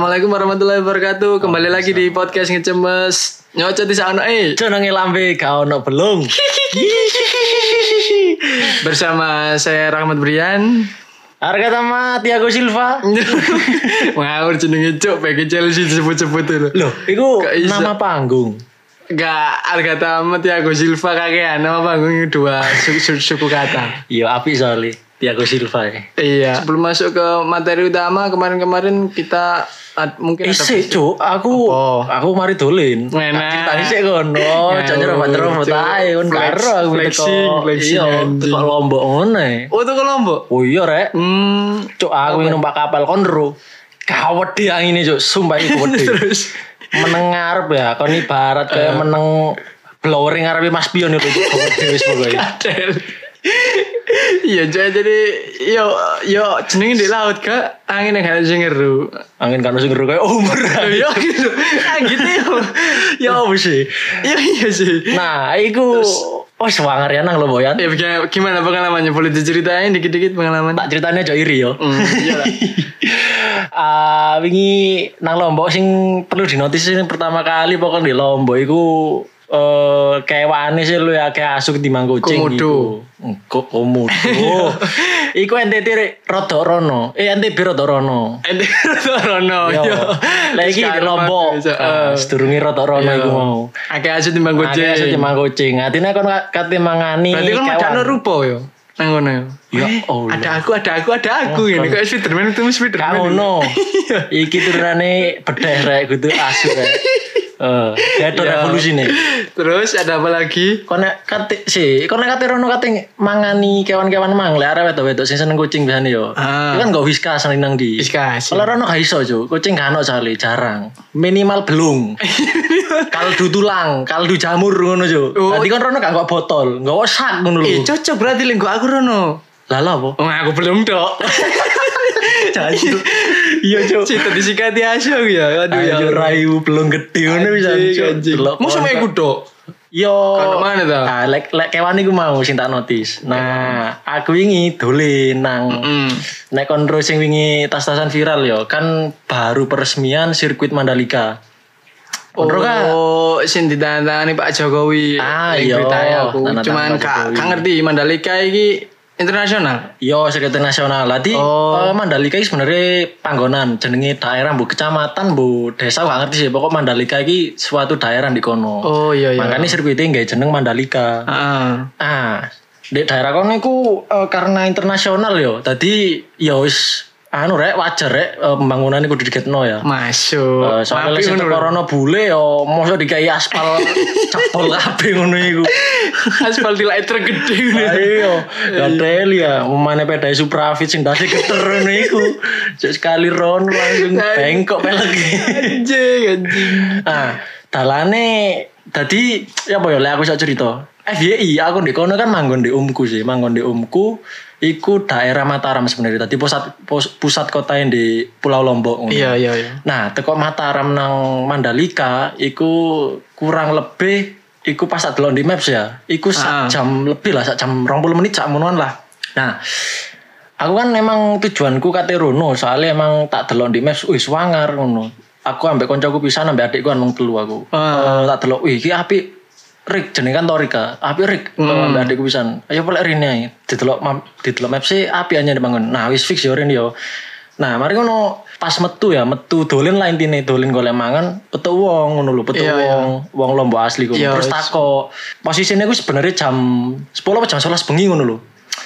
warahmatullahi wabarakatuh. Kembali lagi di podcast ngecemes. Nyocot di sana eh Jenenge lambe gak ono belum. bersama saya Rahmat Brian. Harga sama Tiago Silva. Ngawur jenenge cuk pengen Chelsea disebut-sebut dulu. Loh, iku Gak iso. nama panggung. Gak harga tamat Thiago Silva kakean nama panggung dua su- su- suku kata. Iya, api soalnya Tiago Silva ya. Iya. Sebelum masuk ke materi utama kemarin-kemarin kita ad- mungkin ada- Isik, Cuk. Aku Apa? aku mari dolen. Enak. Ceritane sik kono, Ngawur, jajar robot-robot Cuk. ae kon Flex- karo aku flexing, teko- flexing, Iya, anjing. teko lombok ngono. Oh, itu ke Lombok. Oh iya, Rek. Hmm. Cuk, aku yang numpak kapal konro. Kawedi angin ini, Cuk. Sumpah iku wedi. Terus meneng ngarep ya kon ibarat kayak meneng blowering ngarepe Mas Pion itu dhewe wis pokoke. Adel. Iya jadi jadi yo yo jenenge di laut kak angin yang harus ngeru. Angin kan sing ngeru "Oh, kayak umur. Yo gitu angin yo Ya apa sih? yo iya sih. Nah, iku wis wanger ya nang lho Boyan. Ya bagaimana, gimana pengalamannya boleh diceritain dikit-dikit pengalaman. Tak ceritanya aja iri yo. Hmm, iya lah. Ah, wingi nang Lombok sing perlu dinotis sing pertama kali pokoknya di Lombok iku eh kewane sih lu ya kayak asuk di kucing Hmm, Komodo. Kok komodo. iku NTT Rek, rada rono. Eh NTB rada rono. Ente Rono yo. Lagi di Lombok. Ah, Sedurunge rotok rono iku mau. Akeh asu timbang Kucing. Ada gojek. timang kucing. Atine kon ka- kate mangani. Berarti kan kewan. macam rupa yo. Nang ngono yo. Ya Weh, Allah. Eh, Ada aku, ada aku, ada aku ini. Kayak Spiderman itu Ka Spiderman. ngono. Iki turunane bedeh rek kudu asu rek. Eh, Gator Iya. revolusi nih. Terus ada apa lagi? Kone kate si, kone kate rono kate mangani kewan-kewan mang lek arep wedok-wedok sing seneng kucing biasane yo. Ah. Iku kan gak whiskas nang nang di. Diskus. Kalau rono gak iso Cuk. kucing gak ono jale jarang. Minimal belung. kaldu tulang, kaldu jamur ngono Cuk. Oh. Dadi kan rono gak kok botol, gak kok sak ngono Eh lho. cocok berarti linggo aku Rono. Lah lha apa? Oh aku belum dok. Jangan. Iya Cuk. Cita disikati asyik ya. Aduh ya. Ayo rayu belum gede ngono bisa Cuk. Delok Musuh kono. aku dok. Yo. Kono mana ta? Nah, lek lek kewan iku mau sing tak notis. Nah, aku wingi dolen nang Nek konro sing wingi tas-tasan viral yo, kan baru peresmian sirkuit Mandalika. Konro kan Oh, sing ditantangani Pak Jokowi. Ah, Yang iya. beritanya aku. Tantangan Cuman Pak gak Jokowi. gak ngerti Mandalika iki internasional. Yo, sirkuit nasional. Lati Oh. eh, Mandalika iki sebenarnya panggonan, jenenge daerah bu kecamatan bu desa gak ngerti sih. Pokok Mandalika iki suatu daerah di kono. Oh iya iya. Makanya sirkuitnya nggak jeneng Mandalika. Heeh. Ah, di daerah kono iku eh, karena internasional yo. Tadi yo wis anu rek wajar rek eh, pembangunan iku digetno ya. Masuk. Eh, soalnya Mapi lek Oh, sing ngono lho. teko rono bule yo mosok dikai aspal cepol kabeh ngono iku. Aspal di lighter gede ngono. Ayo, gatel ya, umane pedai Suprafit sing dadi geter ngono iku. Cek sekali ron langsung bengkok pelek. Anjing, anjing. Ah, dalane tadi ya apa ya lek aku iso cerita. FYI aku di kono kan manggon di umku sih, manggon di umku iku daerah Mataram sebenarnya. Tadi pusat pus- pusat kota yang di Pulau Lombok. ngono. Iya iya iya. Nah, teko Mataram nang Mandalika iku kurang lebih iku pas tak delok di maps ya. Iku Ah. sak jam lebih lah, sak jam 20 menit sak monoan lah. Nah, aku kan emang tujuanku kate Rono, soalnya emang tak delok di maps, wis wangar ngono. Aku ambek koncoku pisan ambek adikku kan wong telu aku. Ah. Eh, tak delok, wih iki apik Rik jenenge kan Torika. Apik Rik Hmm. eh, ambek adikku pisan. Ayo pelek rene ae. Didelok map, didelok maps e apik anyar dibangun. Nah, wis fix yo rene yo. Nah, mari ngono pas metu ya, metu dolen lah intine dolen golek mangan, petu wong ngono lho, petu Iya, iya. wong, wong Lombok asli ku. Iya, Terus wis. takok, posisine ku sebenarnya jam 10 apa jam 11 bengi ngono lho.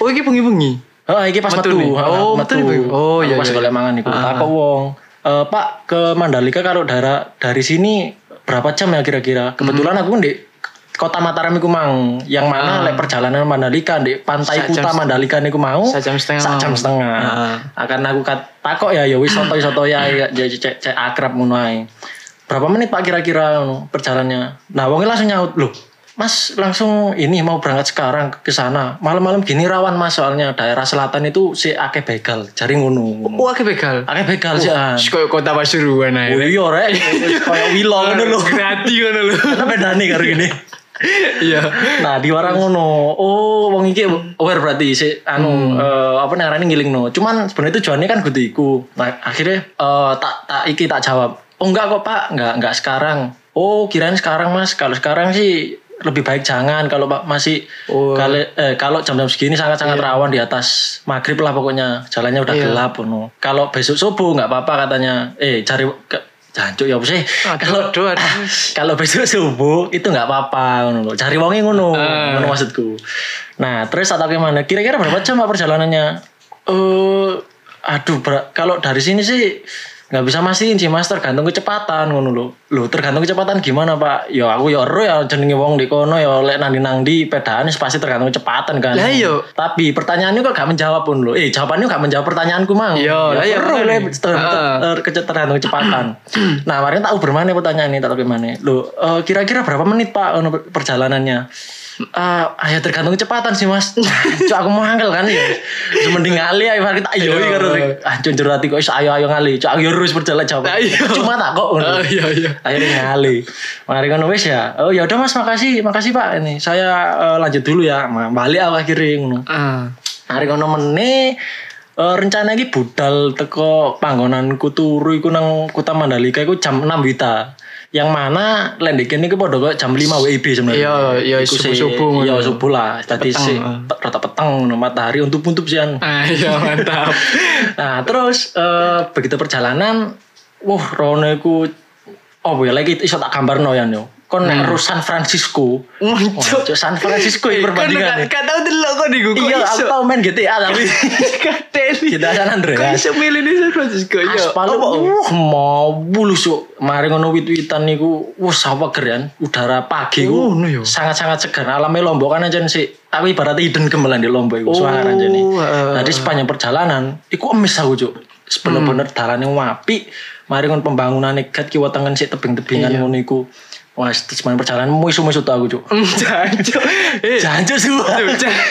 Oh, iki bengi-bengi. Heeh, iki pas Metu metu. nih? Ha, Oh, metu nih, Bu. Oh, Aku iya, Pas iya, golek mangan iku. Takok wong, "Eh, Pak, ke Mandalika kalau daerah dari sini berapa jam ya kira-kira?" Hmm. Kebetulan aku di Kota Mataram iku mang, yang Ah. mana lek perjalanan Mandalika di pantai Sak jam Kuta Mandalika niku mau. Sak jam setengah Ah. Sak jam mau. setengah. Heeh. Akan aku kat, takok ya ya wis soto-soto ya ya, ya, cek cek akrab ngono ae. Berapa menit Pak kira-kira ngono perjalanannya? Nah, wongnya langsung nyaut, "Loh, Mas langsung ini mau berangkat sekarang ke sana. Malam-malam gini rawan Mas soalnya daerah selatan itu si akeh begal, jari ngono. Wah, ke Oh, begal. Akeh begal sih. ah. Wis koyo kota Pasuruan ae. Oh iya rek, kayak wilo ngono lho. Grati ngono lho. Karena bedane karo gini. Iya. Nah, di warang ngono. Oh, wong iki aware berarti si Hmm. anu eh, apa namanya ngiling no. Cuman sebenarnya tujuannya kan kudu iku. Nah, akhirnya eh, tak tak iki tak jawab. oh enggak kok pak enggak enggak sekarang oh kirain sekarang mas kalau sekarang sih lebih baik jangan kalau pak masih Oh. kalau eh, kalau jam-jam segini sangat-sangat rawan di atas maghrib lah pokoknya jalannya udah Iya. gelap no. kalau besok subuh nggak apa-apa katanya eh cari ke, jancuk ya apa sih Aduh, kalau aduh, aduh. Ah, kalau besok subuh itu nggak apa-apa ngono lho. cari wonge ngono Ah. ngono maksudku nah terus atau gimana kira-kira berapa jam Pak, perjalanannya eh Oh. aduh ber- kalau dari sini sih nggak bisa mastiin sih mas tergantung kecepatan ngono lho. Lho, tergantung kecepatan gimana pak ya aku ya ero ya jenenge wong di kono ya lek nang nang di pedaan pasti tergantung kecepatan kan Lah, iya. tapi pertanyaannya kok gak menjawab pun lho. eh jawabannya gak menjawab pertanyaanku mang Ya, Iya, lah, iya, ero bener. lek ter- Heeh. ter- kece- tergantung kecepatan nah kemarin tak uber mana pertanyaan ini tak uber mana Lho, eh, kira-kira berapa menit pak ngono per- perjalanannya Ah, ayo tergantung kecepatan sih mas. Cuk aku mau angkel kan ya. Terus Mending ngali ayo mari kita ayo Iya. karo rek. Ah cuk jero ati kok iso ayo ayo ngali. Cuk aku ya yo terus berjalan jawab. Lah, iya. Cuma tak kok ngono. Ah, iya, iya. Akhirnya ngali. Mari ngono wis ya. Oh ya udah Mas makasih makasih Pak ini. Saya eh, lanjut dulu ya. Ma- Balik aku akhirnya ngono. Ah. Hari kono meneh eh, rencana iki budal teko panggonanku turu iku nang Kuta Mandalika iku jam 6 wita. Yang mana lendek ini ku padha kok jam 5 WIB sebenarnya. Iya, iya, Iku sih- subuh-subuh ngono. Iya, subuh lah. Tadi Peteng, sih ah. pe- rata peteng ngono, matahari untuk-untuk sih kan. Ayo Ah, iya, mantap. Nah, terus eh, begitu perjalanan wah rono iku oh ya lagi iso tak gambarno ya yo. Kon nek ro San Francisco. Wah, Hmm. Muncul. Cuk, San Francisco iki perbandingannya. Kata tahu delok kok di Google. Iya, aku tau main GTA tapi Kateli. Kita San Andreas. Kok iso milih di San Francisco? Iya. aspal Apa? uh mau bulu Cuk. mari ngono wit-witan niku wah sawa keren udara pagi Oh, ku ngono ya. sangat-sangat segar alamnya lombok kan aja sih aku ibaratnya hidden gemelan di lombok iku suara aja nih eh. jadi sepanjang perjalanan iku emis aku cuk sebelum bener Hmm. dalane wapi mari ngono pembangunan gat kiwa tengen sik Iya. tebing-tebingan ngono iku wah sepanjang perjalanan muisu-muisu tuh aku cuk oh. Jancuk. Eh, jancuk suwa Tuh, jan-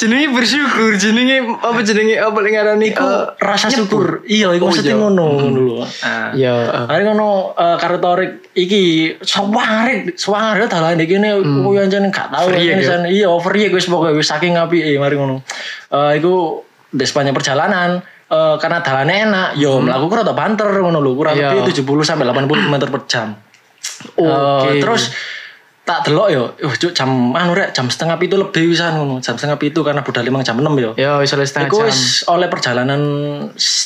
jenenge bersyukur, jenenge apa jenenge apa lek ngarani iku Eh, rasa syukur iya Oh, iku maksudnya iya. ngono ngono lho Ah. Iya, eh. hari ngono eh, karo Torik iki suwarik suwarik dalan iki ne kuwi anjen gak tau Overreact ini Hmm. ya? jan- iya overreact wis pokoke wis saking apike mari ngono Eh, iku di sepanjang perjalanan eh, karena dalannya enak yo mlaku ku rada banter ngono lho kurang Hmm. Iya. lebih 70 sampai 80 km per jam Oke. Eh, terus tak delok yo, oh, cuk jam anu rek jam setengah itu lebih wisan ngono, jam setengah itu karena budal limang jam 6 yo. Ya, wis oleh setengah Iku jam. wis oleh perjalanan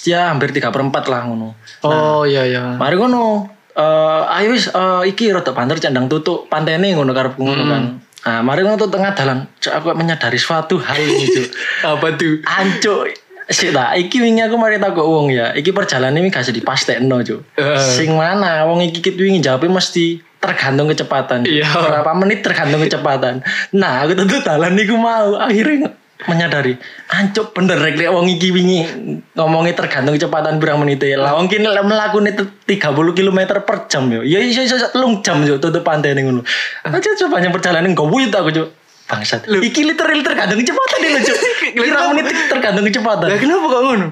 ya hampir 3 per 4 lah ngono. Oh, iya iya. Mari ngono. eh ayo wis eh, iki rada banter candang tutuk pantene ngono karepku ngono kan. Nah, mari ngono tuh tengah dalan. Cuk, aku menyadari suatu hal ini, Cuk. Apa tuh? Ancuk sik tak iki wingi aku mari takok wong ya. Iki perjalanan ini gak usah dipastekno, Cuk. Eh. Sing mana wong iki kit wingi jawabnya mesti tergantung kecepatan. Iya. Berapa menit tergantung kecepatan. Nah, aku tentu dalan niku mau akhirnya menyadari ancuk bener rek lek wong iki wingi ngomongnya tergantung kecepatan pirang menit ya lah wong kini lek mlakune te- 30 km per jam yo ya iso iso telung jam yo tutup pantai ning ngono aja coba yang perjalanan gowo aku cuk bangsat iki literal tergantung kecepatan e lho cuk pirang menit tergantung kecepatan Lah kenapa kok ngono?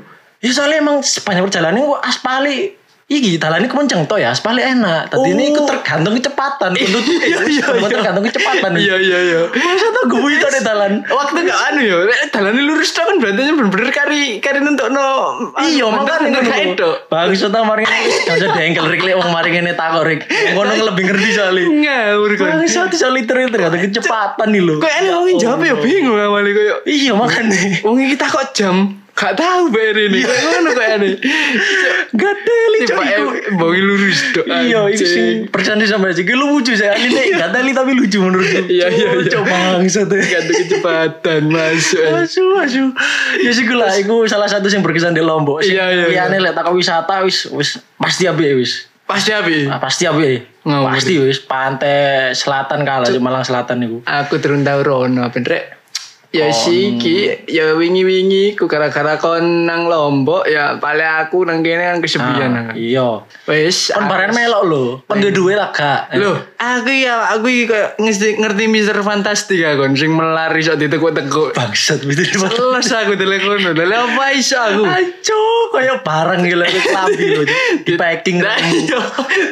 Ya soalnya emang sepanjang perjalanan gua aspali iki dalane kenceng to ya aspali enak. Tadi ini ikut tergantung kecepatan. Tentu Oh. Iya, iya, semua iya. tergantung kecepatan. Iya iya iya. Masa tuh gue itu ada dalan. Waktu gak anu ya, lek dalane lurus tok kan berantemnya bener-bener kari kari nentokno. anu, Iya, makanya bener ngono. kae tok. Bagus ta mari ngene. Jangan dengkel rek lek wong mari ngene takok rek. Ngono lebih ngerti soalnya. Ngawur kon. Bangsat iso liter tergantung kecepatan nih lho. Kok anu wong iki jawab ya bingung awalnya koyo. Iya makanya. Wong iki takok jam. Gak tahu bare ini. Kok ngono kok ya ane. Gede li Tiba cok iku. bau lurus tok. Iya, itu sih percanda sama aja. Gue lucu saya ini nih, gak teli tapi lucu menurutku. Iya, iya, iya. Coba bangsat ya. Gantung kecepatan masuk. Asu, asu. Ya sih gue lah, iku salah satu yang berkesan di Lombok. Sing Iya, iya, Liyane lek tak wisata wis wis pasti abe wis. Pasti api. Ah, pasti abe. Ngawur. Pasti wis pantai selatan kalah cuma Malang Selatan niku. Aku turun tau rono ben rek. Ya si iki ya wingi-wingi ku gara-gara kon nang Lombok ya paling aku nang kene kan Ah, kesepian. Iya. Wis. Kon ah, bareng melok lho, kon Iya. duwe duwe lah gak. Loh, aku ya aku iki kayak ngerti, ngerti Mister Fantastika kon sing melari sok ditekuk-tekuk. bangsat betul Teles aku dele kono. Dele apa iso aku? Acu, kayak barang gila ke klambi lho. Di packing. Nah, iya,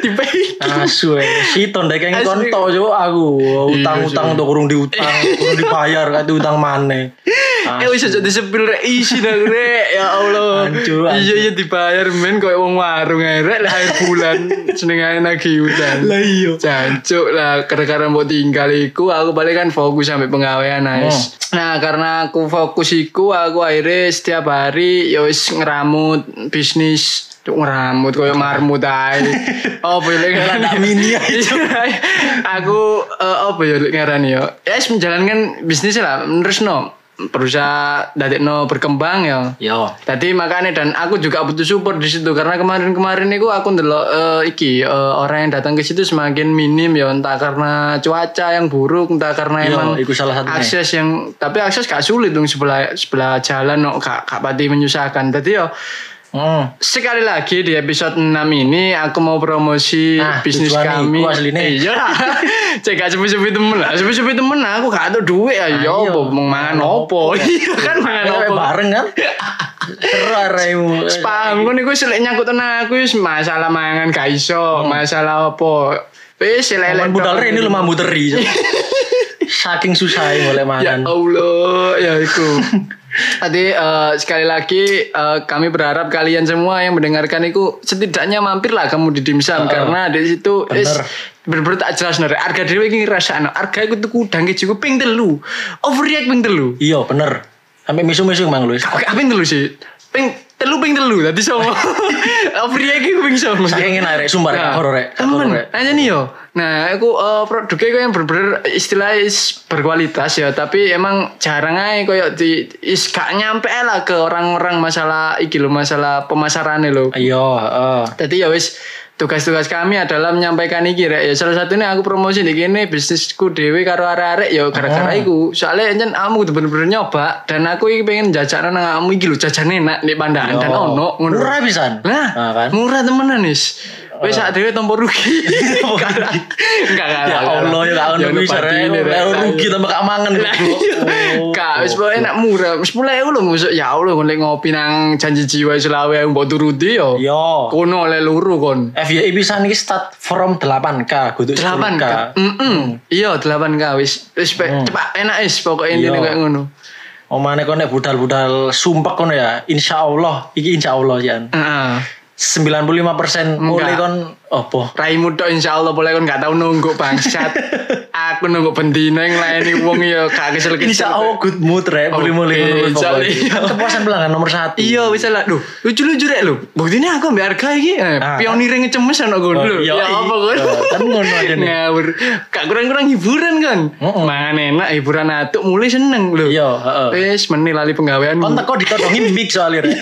tipe iki. Asu eh. si tondek yang Asli. konto jo aku Iya, utang-utang tuh kurung diutang kurung dibayar kan utang mana Eh wis aja disepil rek isi nang rek ya Allah. Hancur, hancur. Iya iya dibayar men koyo wong warung ae rek lah air bulan senengane lagi udan. Lah iya. Jancuk lah gara-gara mau tinggal iku aku balik kan fokus sampai pengawean guys. Hmm. Nah karena aku fokus iku aku akhirnya setiap hari ya wis ngeramut bisnis Cuk, ngeramut koyo marmut ae. Oh boleh Lah, nak mini aja. Iya, aku eh, apa ya Lik, ngarani ya ya wis menjalankan bisnis lah terus no berusaha dadekno berkembang ya Yo. tadi makanya dan aku juga butuh support di situ karena kemarin-kemarin itu aku ndelok eh, iki eh, orang yang datang ke situ semakin minim ya entah karena cuaca yang buruk entah karena Yo, emang iku salah satunya. akses yang tapi akses gak sulit dong sebelah sebelah jalan no gak gak pati menyusahkan tadi yo Hmm. sekali lagi di episode 6 ini aku mau promosi Nah, bisnis tujuan kami. iku asline. Iya. Cek gak sepi-sepi temen lah. Sepi-sepi temen aku gak ada duit ayo Ayo. opo mau mangan opo. Iya kan mangan Ayo, opo. bareng kan? Seru aremu. Sepaham kan iku selek nyangkut nang aku wis masalah mangan gak iso, masalah opo. Wis Laman lele. Oh. budal ini lemah muteri. Saking susah boleh Ya makan. Allah, ya itu. Tadi eh, sekali lagi eh, kami berharap kalian semua yang mendengarkan itu setidaknya mampirlah kamu di dimsum karena di situ Bener. is- bener-bener tak jelas nere. Harga dhewe iki ngrasakno. Harga iku tuku udang iki cukup ping telu. Overreact ping telu. Iya bener. Sampai misu-misu mang Luis. Kok ping telu sih? Ping telu ping telu tadi songo. Overreact iku ping songo. Saking enak rek sumbar Nah, nah, horor rek. Gak Temen, horor, rek. aja nih yo. Nah, aku eh, produknya kok yang bener-bener istilahnya is berkualitas ya, tapi emang jarang aja koyo di is gak nyampe lah ke orang-orang masalah iki lo masalah pemasarannya lo. Iya, heeh. Tadi ya wis tugas-tugas kami adalah menyampaikan iki rek. Ya salah satunya aku promosi di kene bisnisku dhewe karo arek-arek ya gara-gara Ah. iku. Soalnya enjen aku kudu bener-bener nyoba dan aku iki pengen jajanan nang kamu iki lho jajan enak di pandaan dan Yo. ono ngono. Murah pisan. Lah, Nah, kan. Ah. murah temenan is. Wis sak dhewe tompo rugi. Enggak lah. Enggak kalah. Ya Allah ya gak ono bisa rek. Lah, Rugi Oh, iya. tambah gak mangan. iya. Kak, wis pokoke nak murah. Wis mulai lho ngusuk ya Allah kon lek ngopi nang janji jiwa Selawe aku mbok turuti yo. Yo. Kono oleh luru kon. FYI bisa nih start from 8K 8 Kudu 10K. k. Mm Iya 8 k wis wis pe- cepak enak is pokoke intine Hmm. Iya. kayak ngono. Omane kono budal-budal sumpek kono ya. Insya Allah, iki insya Allah Jan. Heeh. 95% Enggak. mulai kon opo? Raimu tok insyaallah boleh kon gak tau nunggu bangsat. Aku nunggu bendina yang layani wong ya gak Insya kesel-kesel. Allah good mood rek, mulai-mulai Oke, ngono insya Allah, iya. pokoknya. Kepuasan pelanggan nomor satu. Iya bisa lah. Duh, lucu-lucu rek lho. Buktinya aku ambil harga iki. Eh, Ah. pionire ngecemes ana gue Oh, lho. iya, Ya iya. apa kon? Kan ngono aja nih. Ngawur. Gak kurang-kurang hiburan kan. Mm-mm. Mangan enak hiburan atuk mulai seneng lho. Iya, heeh. Wis meni lali penggawean. Kon teko ditodongi mic soalnya Iya. rek.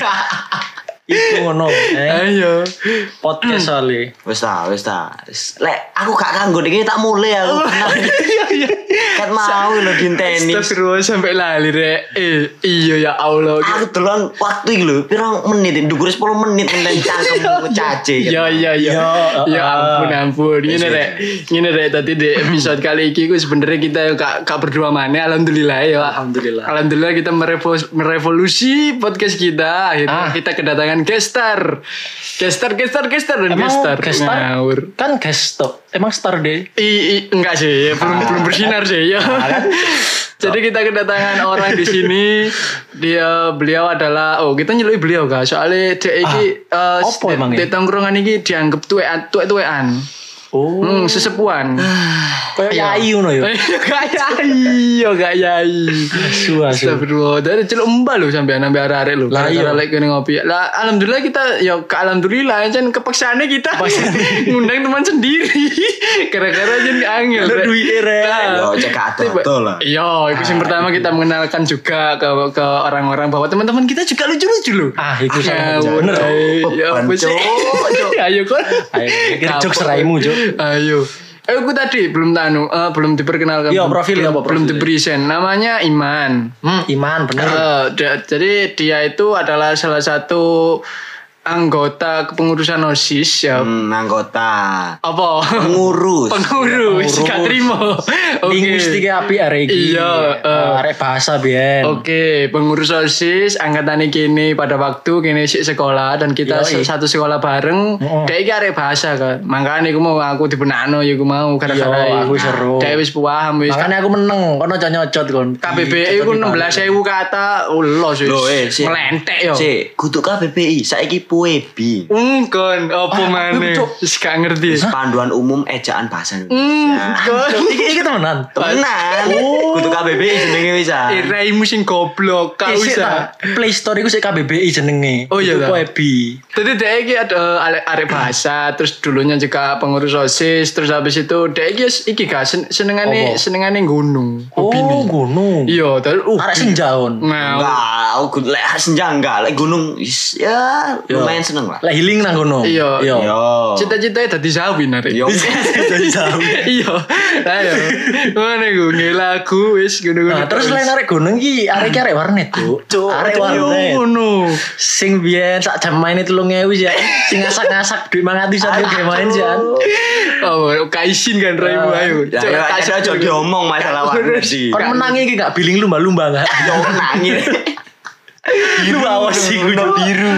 Itu ngono. eh. Ayo. Podcast soalnya. Wis ta, wis ta. Wis- Lek aku gak kanggo iki tak mulai aku. Iya iya. Kat mau lho dinteni. Astagfirullah sampai lali rek. Eh, iya ya Allah. Aku delon waktu iki lho, pirang menit, dhuwur 10 menit menten cangkemmu cace. Ya ya ya. Ya, Ya ah. ampun ampun. Ngene rek. Ngene rek tadi di episode kali ini ku sebenarnya kita ya gak gak berdua mana alhamdulillah ya. Alhamdulillah. Alhamdulillah kita merevo- merevolusi podcast kita. Akhirnya Ah. kita kedatangan gestar. Gestar gestar gestar dan Emang gestar. guest star? Ngawur. Kan guest tok. Emang star deh. I, i- enggak sih, ya, belum Ah. belum bersinar sih ya. kan? Jadi Oh. kita kedatangan orang di sini. Dia beliau adalah oh kita nyelui beliau gak soalnya dia iki eh, Ah. apa di- emangnya? di tongkrongan iki dianggap tuean tuek tuean. Oh. Ah. Hmm, sesepuan. Iya, ya, Kayak ya? Yayu no yo. Kayak iyo, kayak Asu asu. ya, iya. Astagfirullah, dari celuk mbak lo sampai nambah arah-arah lo. Lah, Gara-gara iya. lek kene ngopi. Lah alhamdulillah kita ya ke- alhamdulillah kan kepaksaannya kita ngundang teman sendiri. Gara-gara aja angel. Ada Rek. duitnya, Rek. Nah, Yo cek gak tiba- ada lah. Iya, itu yang pertama kita mengenalkan juga ke ke orang-orang bahwa teman-teman kita juga lucu-lucu loh. Ah, itu Ya, salah satu. bener. Bener. Ya, Beban, apa sih? Cuk, Cuk. Ayo kon. Ayo, pikir Kapok. jokes raimu, Cuk. Ayo. Eh, aku tadi belum tanu, eh, belum diperkenalkan. Iya, belum- profil belum, apa belum profil? dipresent. Namanya Iman. Hmm, Iman bener. Eh, da- jadi dia itu adalah salah satu anggota kepengurusan OSIS ya. Hmm, anggota. Apa? Pengurus. Pengurus, Pengurus. gak terima. Oke. Linguistiknya ya, api arek iki. Iya, eh. Oh, arek bahasa biyen. Oke, pengurus OSIS angkatan kini pada waktu kini sik sekolah dan kita se- Yoi. satu sekolah bareng. Mm-mm. Dek iki arek bahasa kan. Makanya aku mau aku dibenakno ya aku mau Iya, gara-gara aku seru. Dek wis paham wis. Makanya aku meneng, kono aja nyocot kon. KBBI ku 16.000 kata. Ulos oh, wis. Loh, eh, sik. Melentek yo. Cek, kudu KBBI, saiki puebi. Ungkon opo Ah, maneh? cuk. Wis gak ngerti. Panduan umum ejaan bahasa Hmm. Indonesia. Ungkon. Iki iki temenan. Tenan. Uh. Kudu KBBI jenenge ah. wisan. Iraimu sing goblok, gak Isik usah. Eh, ta, Play Store iku sik KBBI E jenenge. Oh, iya Itu ta? Poebi. Jadi dia ini ada ale- arek bahasa, terus dulunya juga pengurus osis, terus habis itu dia ini iki gak sen senengane Apa? senengane gunung. Oh, gunung. Iya, terus uh. Arek senjaon. Nah, Enggak, aku kudu lek senja enggak, lek gunung is- ya lumayan seneng lah. Lah healing nang gunung. Iya. Iya. Oh. Yo. cita-citanya dadi sawin arek. Yo. Jadi jauh. Iya. Ayo. Mana gue ngelaku wis Nah, gunung-gunung. terus lain arek gunung iki arek iki arek warnet, Cuk. Arek warnet. Ngono. sing biyen sak jam main itu ya sing ngasak-ngasak duit mangat bisa dia game main ya Oh, kaisin kan Raimu ayo. Ya ya aja aja diomong masalah warna sih. kon menang iki gak billing lumba-lumba gak Yo nangis. lu awas sih kudu biru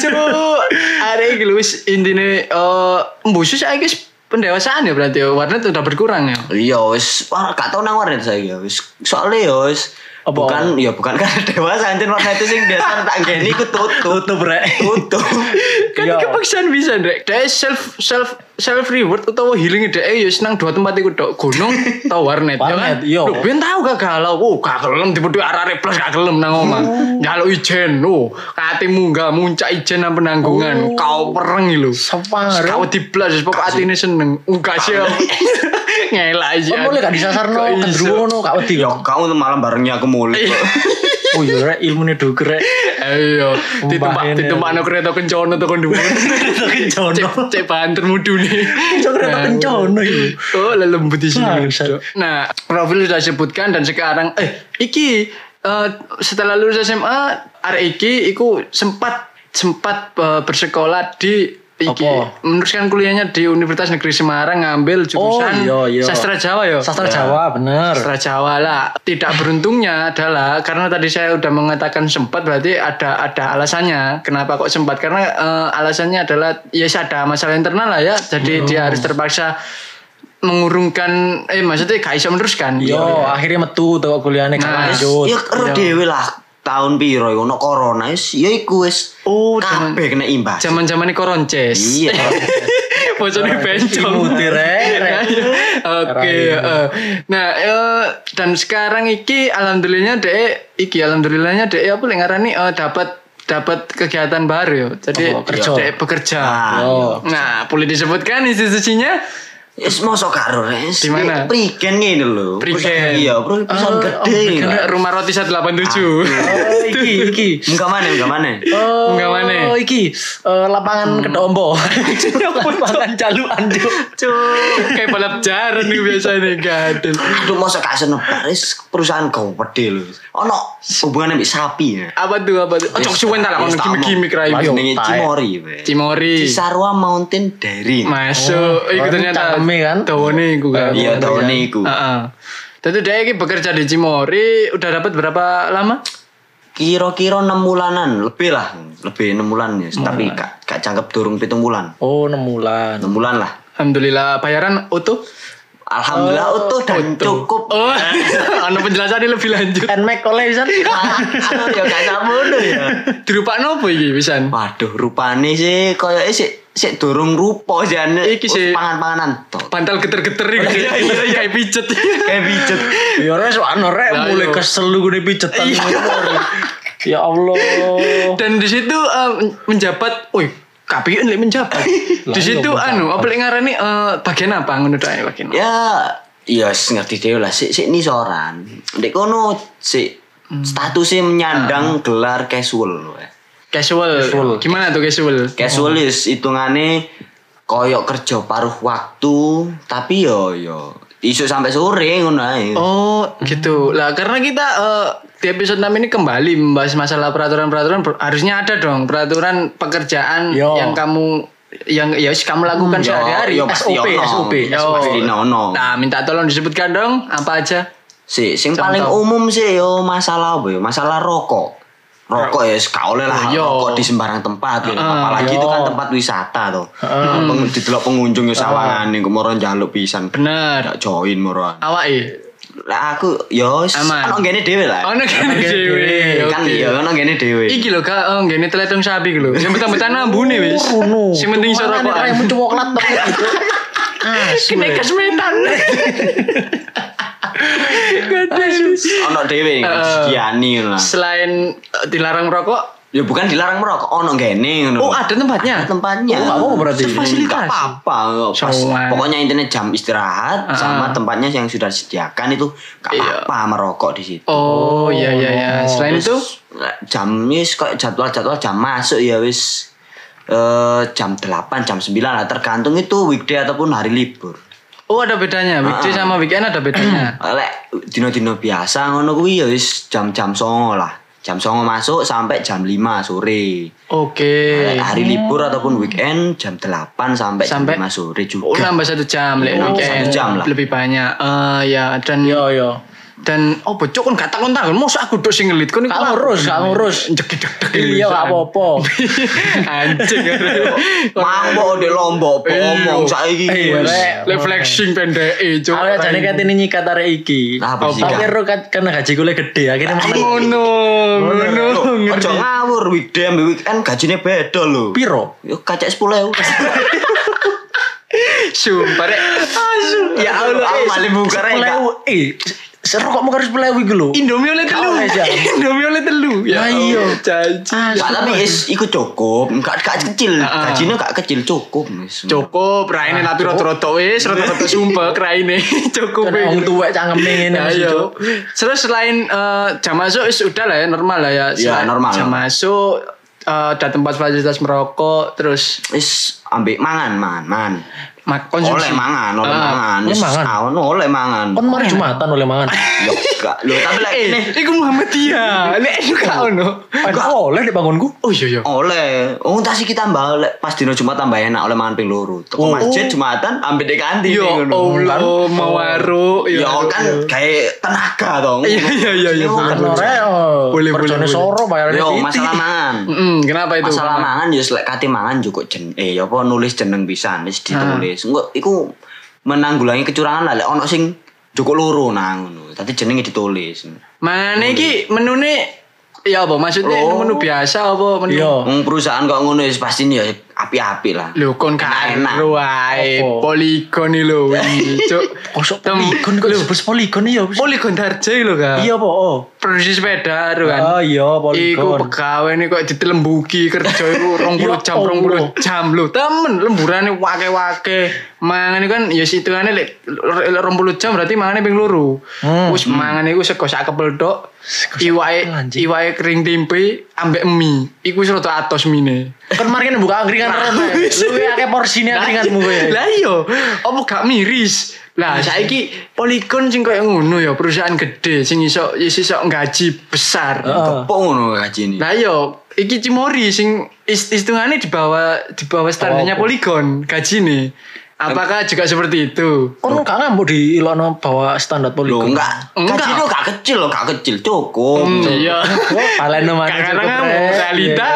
Cuk, hari ini lu wis intine eh mbusus saiki wis pendewasaan ya berarti ya. Warnet udah berkurang ya. Iya wis wah gak tau nang warnet saiki ya wis soalnya ya wis Apa? bukan ya bukan karena dewasa anjir warnet itu sing biasa tak geni ku tutup. tutup rek Tutup. Kan Iya. kepaksaan bisa Ndek. Dek self self self reward utawa healing dek ya wis nang dua tempat iku tok gunung utawa warnet ya kan. Warnet, iya. Lho, ben tau gak galau. Oh, gak gelem tiba arek-arek plus gak gelem nang omah. Njaluk ijen. Oh, kate munggah muncak ijen nang Oh. penanggungan. Kau pereng iki lho. separah Kau diblas wis pokok atine seneng. Enggak sih. Ngelak aja. kon mulai gak disasar Kok iya. no iso? gendruwo no gak wedi Yo yo kau tuh malam barengnya aku mulai. oh iya rek ilmune duger rek Ayo, Iya. Umbahin ditumpak ya. ditumpak no kereta kencono tuh kondu. kereta kencono Cek cek banter mudune. Cok, kereta Nah, Iya. kencono iki Oh, lah lembut di sini. Bangsat. Nah, profil sudah sebutkan dan sekarang eh iki eh, setelah lulus SMA arek iki iku sempat sempat eh, bersekolah di iki Apa? meneruskan kuliahnya di Universitas Negeri Semarang ngambil jurusan Oh, iya, iya. sastra Jawa yo. sastra Jawa bener Sastra Jawa lah. Tidak beruntungnya adalah karena tadi saya udah mengatakan sempat berarti ada ada alasannya. Kenapa kok sempat? Karena eh, alasannya adalah ya ada masalah internal lah ya. Jadi dia harus terpaksa mengurungkan eh maksudnya gak iso meneruskan. yo akhirnya metu tuh kuliahnya gak iya. Nah, lanjut Ya karo dhewe lah tahun piro iku ono corona wis ya iku wis Oh, zaman- kabeh kena imbas. Zaman-zaman ini koronces. Iya. Bocone bencong. Iya. Imuti, Rek. Oke, eh. Nah, eh, dan sekarang iki alhamdulillahnya Dek iki alhamdulillahnya Dek apa lek ngarani eh, dapat dapat kegiatan baru yo. Jadi Oh, kerja. Dek bekerja. Nah, yo Nah, boleh disebutkan institusinya? Wis mosok karo res. Di mana? Prigen ngene lho. Prigen. Perusahaan- Iya, bro, perusahaan gede. Karena rumah roti 187. Oh, iki iki Enggak mana, enggak mana. Oh, Enggak Hmm. mana? iki eh, lapangan kedombo. lapangan calu anjuk. Cuk, kayak balap jaran nih biasanya gadel. Aduh, mosok gak senebar res perusahaan gede lho. Ono hubungannya mbek sapi ya. Apa tuh apa tuh? Oh, cok suwen tak lakon Wis tak gimmick-gimmick omong. rai. Jenenge Tae. Cimori. weh. Cimori. Cisarua Mountain Dairy. Masuk, Oh, iku oh, ternyata cangkeme kan? Dawane iku kan. Iya, tahun Gitu. iku. Heeh. Tentu dia ini bekerja di Cimory udah dapat berapa lama? Kira-kira 6 bulanan, lebih lah. Lebih 6 bulan ya, tapi gak gak cangkep durung 7 bulan. Oh, enam bulan. 6 bulan lah. Alhamdulillah bayaran utuh. Alhamdulillah utuh dan cukup. Oh, ana penjelasannya lebih lanjut. Nmax oleh pisan. Aduh, ya gak samono ya. Dirupak nopo iki pisan? Waduh, rupane sih koyoke sik sik durung rupa jan. Iki sih. pangan-panganan to. Bantal geter-geter Oh, iki. iya, Kayak pijet. Kayak pijet. Ya ora sono rek Lah, mulai iya. kesel lu gue pijetan. Ya Allah. Iya. Dan di situ eh, menjabat, woi, KPU lek menjabat. Di situ Lah, iya, anu, apa lek ngarani eh, bagian apa ngono tok ae, bagian. apa? Ya, iya wis ngerti dhewe lah sik sik nisoran. Ndek kono sik Hmm. statusnya menyandang gelar casual. we. Casual. Casual. Gimana tuh casual? Casual is hitungane koyok kerja paruh waktu, tapi ya, yo yo Isu sampai sore ngono ae. Oh Hmm. gitu lah karena kita eh, di episode 6 ini kembali membahas masalah peraturan-peraturan ber- harusnya ada dong peraturan pekerjaan Yo. yang kamu yang ya wis kamu lakukan Yo, sehari-hari yo, pasti SOP, ono. SOP. Yo, Pasti ono. Oh. Nah minta tolong disebutkan dong apa aja. Si, sing Contoh. paling umum sih yo masalah apa yo? Masalah rokok. Rokok ya sekau lah Yo. rokok di sembarang tempat yo. Apalagi yo. itu kan Iya. tempat wisata tuh. Peng, didelok pengunjung yo sawangan iku moro njaluk pisan. Bener. Gak join moro. Awak eh. Lah aku yo s- Aman. ono ngene dhewe lah. Ono kene dhewe. Kan oke. yo ono ngene dhewe. Iki lho kak, oh, ngene teletung sapi iki lho. Yang betan-betan ambune wis. Runo. Sing penting iso Mana nih, rokokan. Kayak coklat tapi gitu. Asu. Kene kesmetan. Gede sih. Ono dhewe disediani ngono lah. Selain eh, dilarang merokok, Ya bukan dilarang merokok, ono ngene ngono. oh ada tempatnya. tempatnya. Oh, nggak apa-apa berarti. Fasilitas. Fasilitasi. apa-apa. Pas, Cuman. pokoknya intinya jam istirahat sama tempatnya yang sudah disediakan itu gak apa-apa merokok di situ. Oh, iya iya iya. Selain itu Jamnya kok jadwal-jadwal jam masuk ya wis eh, jam 8, jam 9 lah tergantung itu weekday ataupun hari libur. Oh ada bedanya, Ah, weekday sama weekend ada bedanya. Lek dino-dino biasa ngono kuwi ya wis jam-jam 09.00 lah. Jam 09.00 masuk sampai jam 5 sore. Oke. Lek hari libur ataupun weekend jam 8 Sampai- sampai, jam 5 sore juga. Oh nambah satu jam lek Nambah weekend. satu jam lah. Lebih banyak. Eh ya dan Yo yo. dan oh bocok kan gak takon takon mosok aku dok sing ngelit kon Hmm. iku Gak lapor. ngurus, gak ngurus. Jedeg-jedeg. Iya gak apa-apa. Anjing. Mambo di Lombok apa Iya. omong saiki. Iya, wis. Rek. Reflection pendek e cuk. Awalnya jane kat ini nyikat arek iki. Lah, apa sih, Tapi Kak? ro kat- karena gaji gue gede akhirnya malah ngono, ngono. Loh, Ojo ngawur weekday ambek weekend gajine beda lho. piro. Yo kacek 10.000. Sumpah rek. Ya Allah. eh, aku malah Ah, buka rek. Kak. Sepuluh eh serokokmu harus sepuluh ewu gitu loh. Indomie oleh telu. Kalah aja. Indomie oleh telu. Ya Lah Allah, iya. janji. Gak, tapi is iku cukup, gak gak kecil. Gajinya gak kecil cukup wis. Nah, Cukup, raine tapi roto-roto wis, roto-roto sumpah raine. Cukup. Kan wong tuwek cangkeme ngene mesti Ayo. cuk. Terus selain eh, jam masuk sudah lah ya normal lah ya. Ya, Selain normal. Jam masuk eh, ada tempat fasilitas merokok, terus Is ambek mangan, mangan, mangan. mak Oleh konsumsi. mangan, oleh Ah, mangan. oleh Is, mangan. ah, ono oleh mangan. Kon mari Kan jumatan oleh mangan. Yo gak. Lho tapi lek Eh, ini iku Muhammadiyah. Nek iku gak ono. Enggak Eh, oleh di bangunku. Oh iya iya. oleh. Oh, tak sih kita tambah oleh pas dino Jumat tambah enak oleh mangan ping loro. Teko masjid Jumatan ambek di kantin Oh. Yo Ya ngono. Kan? Oh. Allah mawaru. Ya Allah. kan kayak tenaga dong. Iya, iya, iya, iya, Ngono. Ono rek. oh, Boleh, boleh, boleh. kerjane soro bayarane Yo titik. masalah mangan. Mm, kenapa itu? Masalah mangan yo lek kate mangan juga jen eh ya apa nulis jeneng pisan wis ditulis. Engko iku menanggulangi kecurangan lah lek ono sing joko loro nah ngono. Tapi jenenge ditulis. Mana iki menune ya apa maksudnya iya. Oh. menu biasa apa menu? Yo. Wong perusahaan kok ngono wis pasti ya api-api lah. Lho kon Enak. karo ae Apa? poligon iki lho wih, cuk. Kosok Tem- poligon kok disebut poligon ya. wis. Poligon Darjai lho kan. Iya po. oh. Produksi sepeda lho kan. Oh iya Iku poligon. pegawai nih kok ditelembuki kerja iku 20 jam Ya 20 jam lho temen lemburane wake-wake mangan iku kan ya situane lek lek 20 jam berarti mangane ping loro Hmm. wis mangan iku sego sak kepel tok iwake kepel, anjing. iwake kering tempe ambek mie iku wis rada atos mine Kan mari kan buka angkringan ron. Lu ya akeh porsine angkringanmu kowe. Lah iya, apa gak miris? Lah saiki poligon sing koyo ngono ya perusahaan gede sing iso iso iso gaji besar. Kepok ngono gajine. Lah yo, iki Cimori sing is- hitungannya di bawah di bawah standarnya apa? poligon gajine. Apakah juga seperti itu? Kon gak ngambuk di ilokno bawa standar Lho poligon. enggak. Enggak. Hmm. Gaji lo gak kecil lo gak kecil cukup. Iya. Wah, paleno mana Karena Oh, cukup, kamu Rek. realita.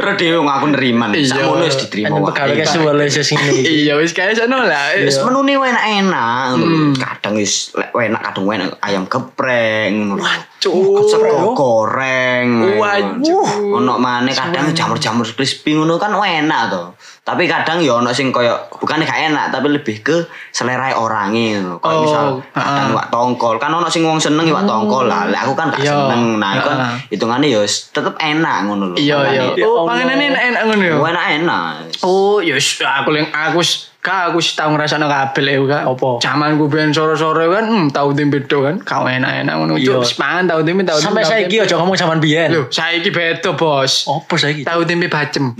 Rede ngaku neriman. Iya. Sakmono wis diterima. Ini wae. pegawai kayak suwe lah sih sini. Iya wis kae sono lah. Wis menune enak-enak. Hmm. Kadang wis lek enak kadang enak ayam geprek ngono. Cuk. Sego goreng. Waduh. Ono maneh kadang jamur-jamur crispy ngono kan enak to. Tapi kadang ya ono sing koyo bukan gak enak tapi lebih ke selera orangnya ngono. Kayak Oh, misal kadang iwak tongkol kan ono sing wong seneng iwak tongkol lah. Lek aku kan gak Iya. seneng. Nah, iku kan Heeh. hitungane ya wis tetep enak ngono lho. Iya iya. Makane, Oh, Allah. panganane enak-enak ngono ya. Enak-enak. Oh, ya wis, aku yang aku wis- ka aku wis tau ngrasakno kabel aku kak. Apa? Zaman ku ben sore-sore kan hmm, tau tempe do kan, kau enak-enak ngono. Iya. Cuk, wis mangan tau tempe tau. Sampai saiki Oh, ojo ngomong zaman biyen. Lho, saiki beda, Bos. Opo saiki? Tau tempe bacem.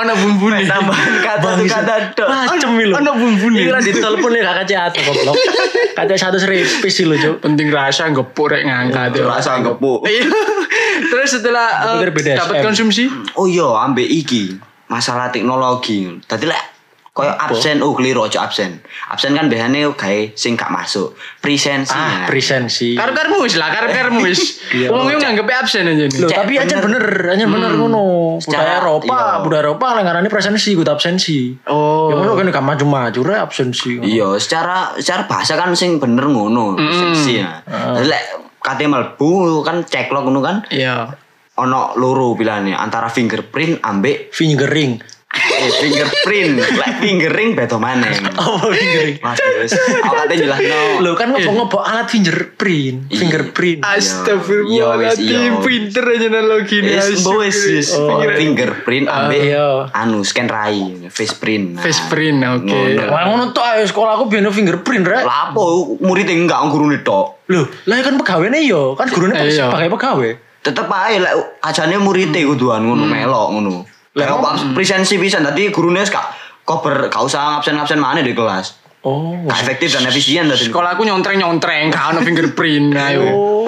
Ono bumbune. Tambahan kata tuh kata dok. Macem lho. Ono bumbune. Ini di telepon ya kakak Ciatu goblok. Kakak Ciatu seripis sih lho, Cuk. Penting rasa gepuk rek ngangkat. yo. Rasa gepuk. Iya. Terus setelah Aku eh, pikir BDSM. dapat konsumsi, Oh iya, ambek iki masalah teknologi. Tadi lek koyo absen, oh keliru aja absen. Absen kan biasanya gawe sing gak masuk. Presensi. Ah, presensi. karo-karmu wis lah, karo-karmu wis. Iya. Wong yo nganggep absen aja nih. Loh, Cek tapi aja bener. bener, aja bener ngono. Budaya Secara- Eropa, iya. budaya Eropa lah ngarani presensi, gue absensi. Oh. Ya ngono kan gak maju-maju re absensi. Iya, secara secara bahasa kan sing bener ngono, presensi. ya. Dadi lek kate mlebu kan ceklok ngono kan Iya. ono loro pilihannya antara fingerprint ambek Fingering. eh, fingerprint. lek fingering beda maneh. Apa fingering? Waduh, wis. Aku kate jelasno. Lo kan ngobong-ngobong alat fingerprint, fingerprint. Iya, Astagfirullahaladzim, wis, iya. pinter aja analogi nih. Yes, asyik. boys, yes. Fingerprint ambek iya. anu scan rai, face print. Nah, Face print, oke. ngono. Lah ngono tok ayo sekolah aku biyen fingerprint rek. Lah apa murid enggak gurune tok. Loh, lah kan pegawene yo, kan gurune pe- Iya. sebagai pegawai. Tetep ae lek ajane murid e kuduan ngono melok ngono. Lah kok presensi pisan tadi gurune wis gak kober gak usah absen-absen mana di kelas. Oh. Gak efektif dan efisien tadi. Sekolah aku nyontreng-nyontreng, gak ono fingerprint, ayo. Oh.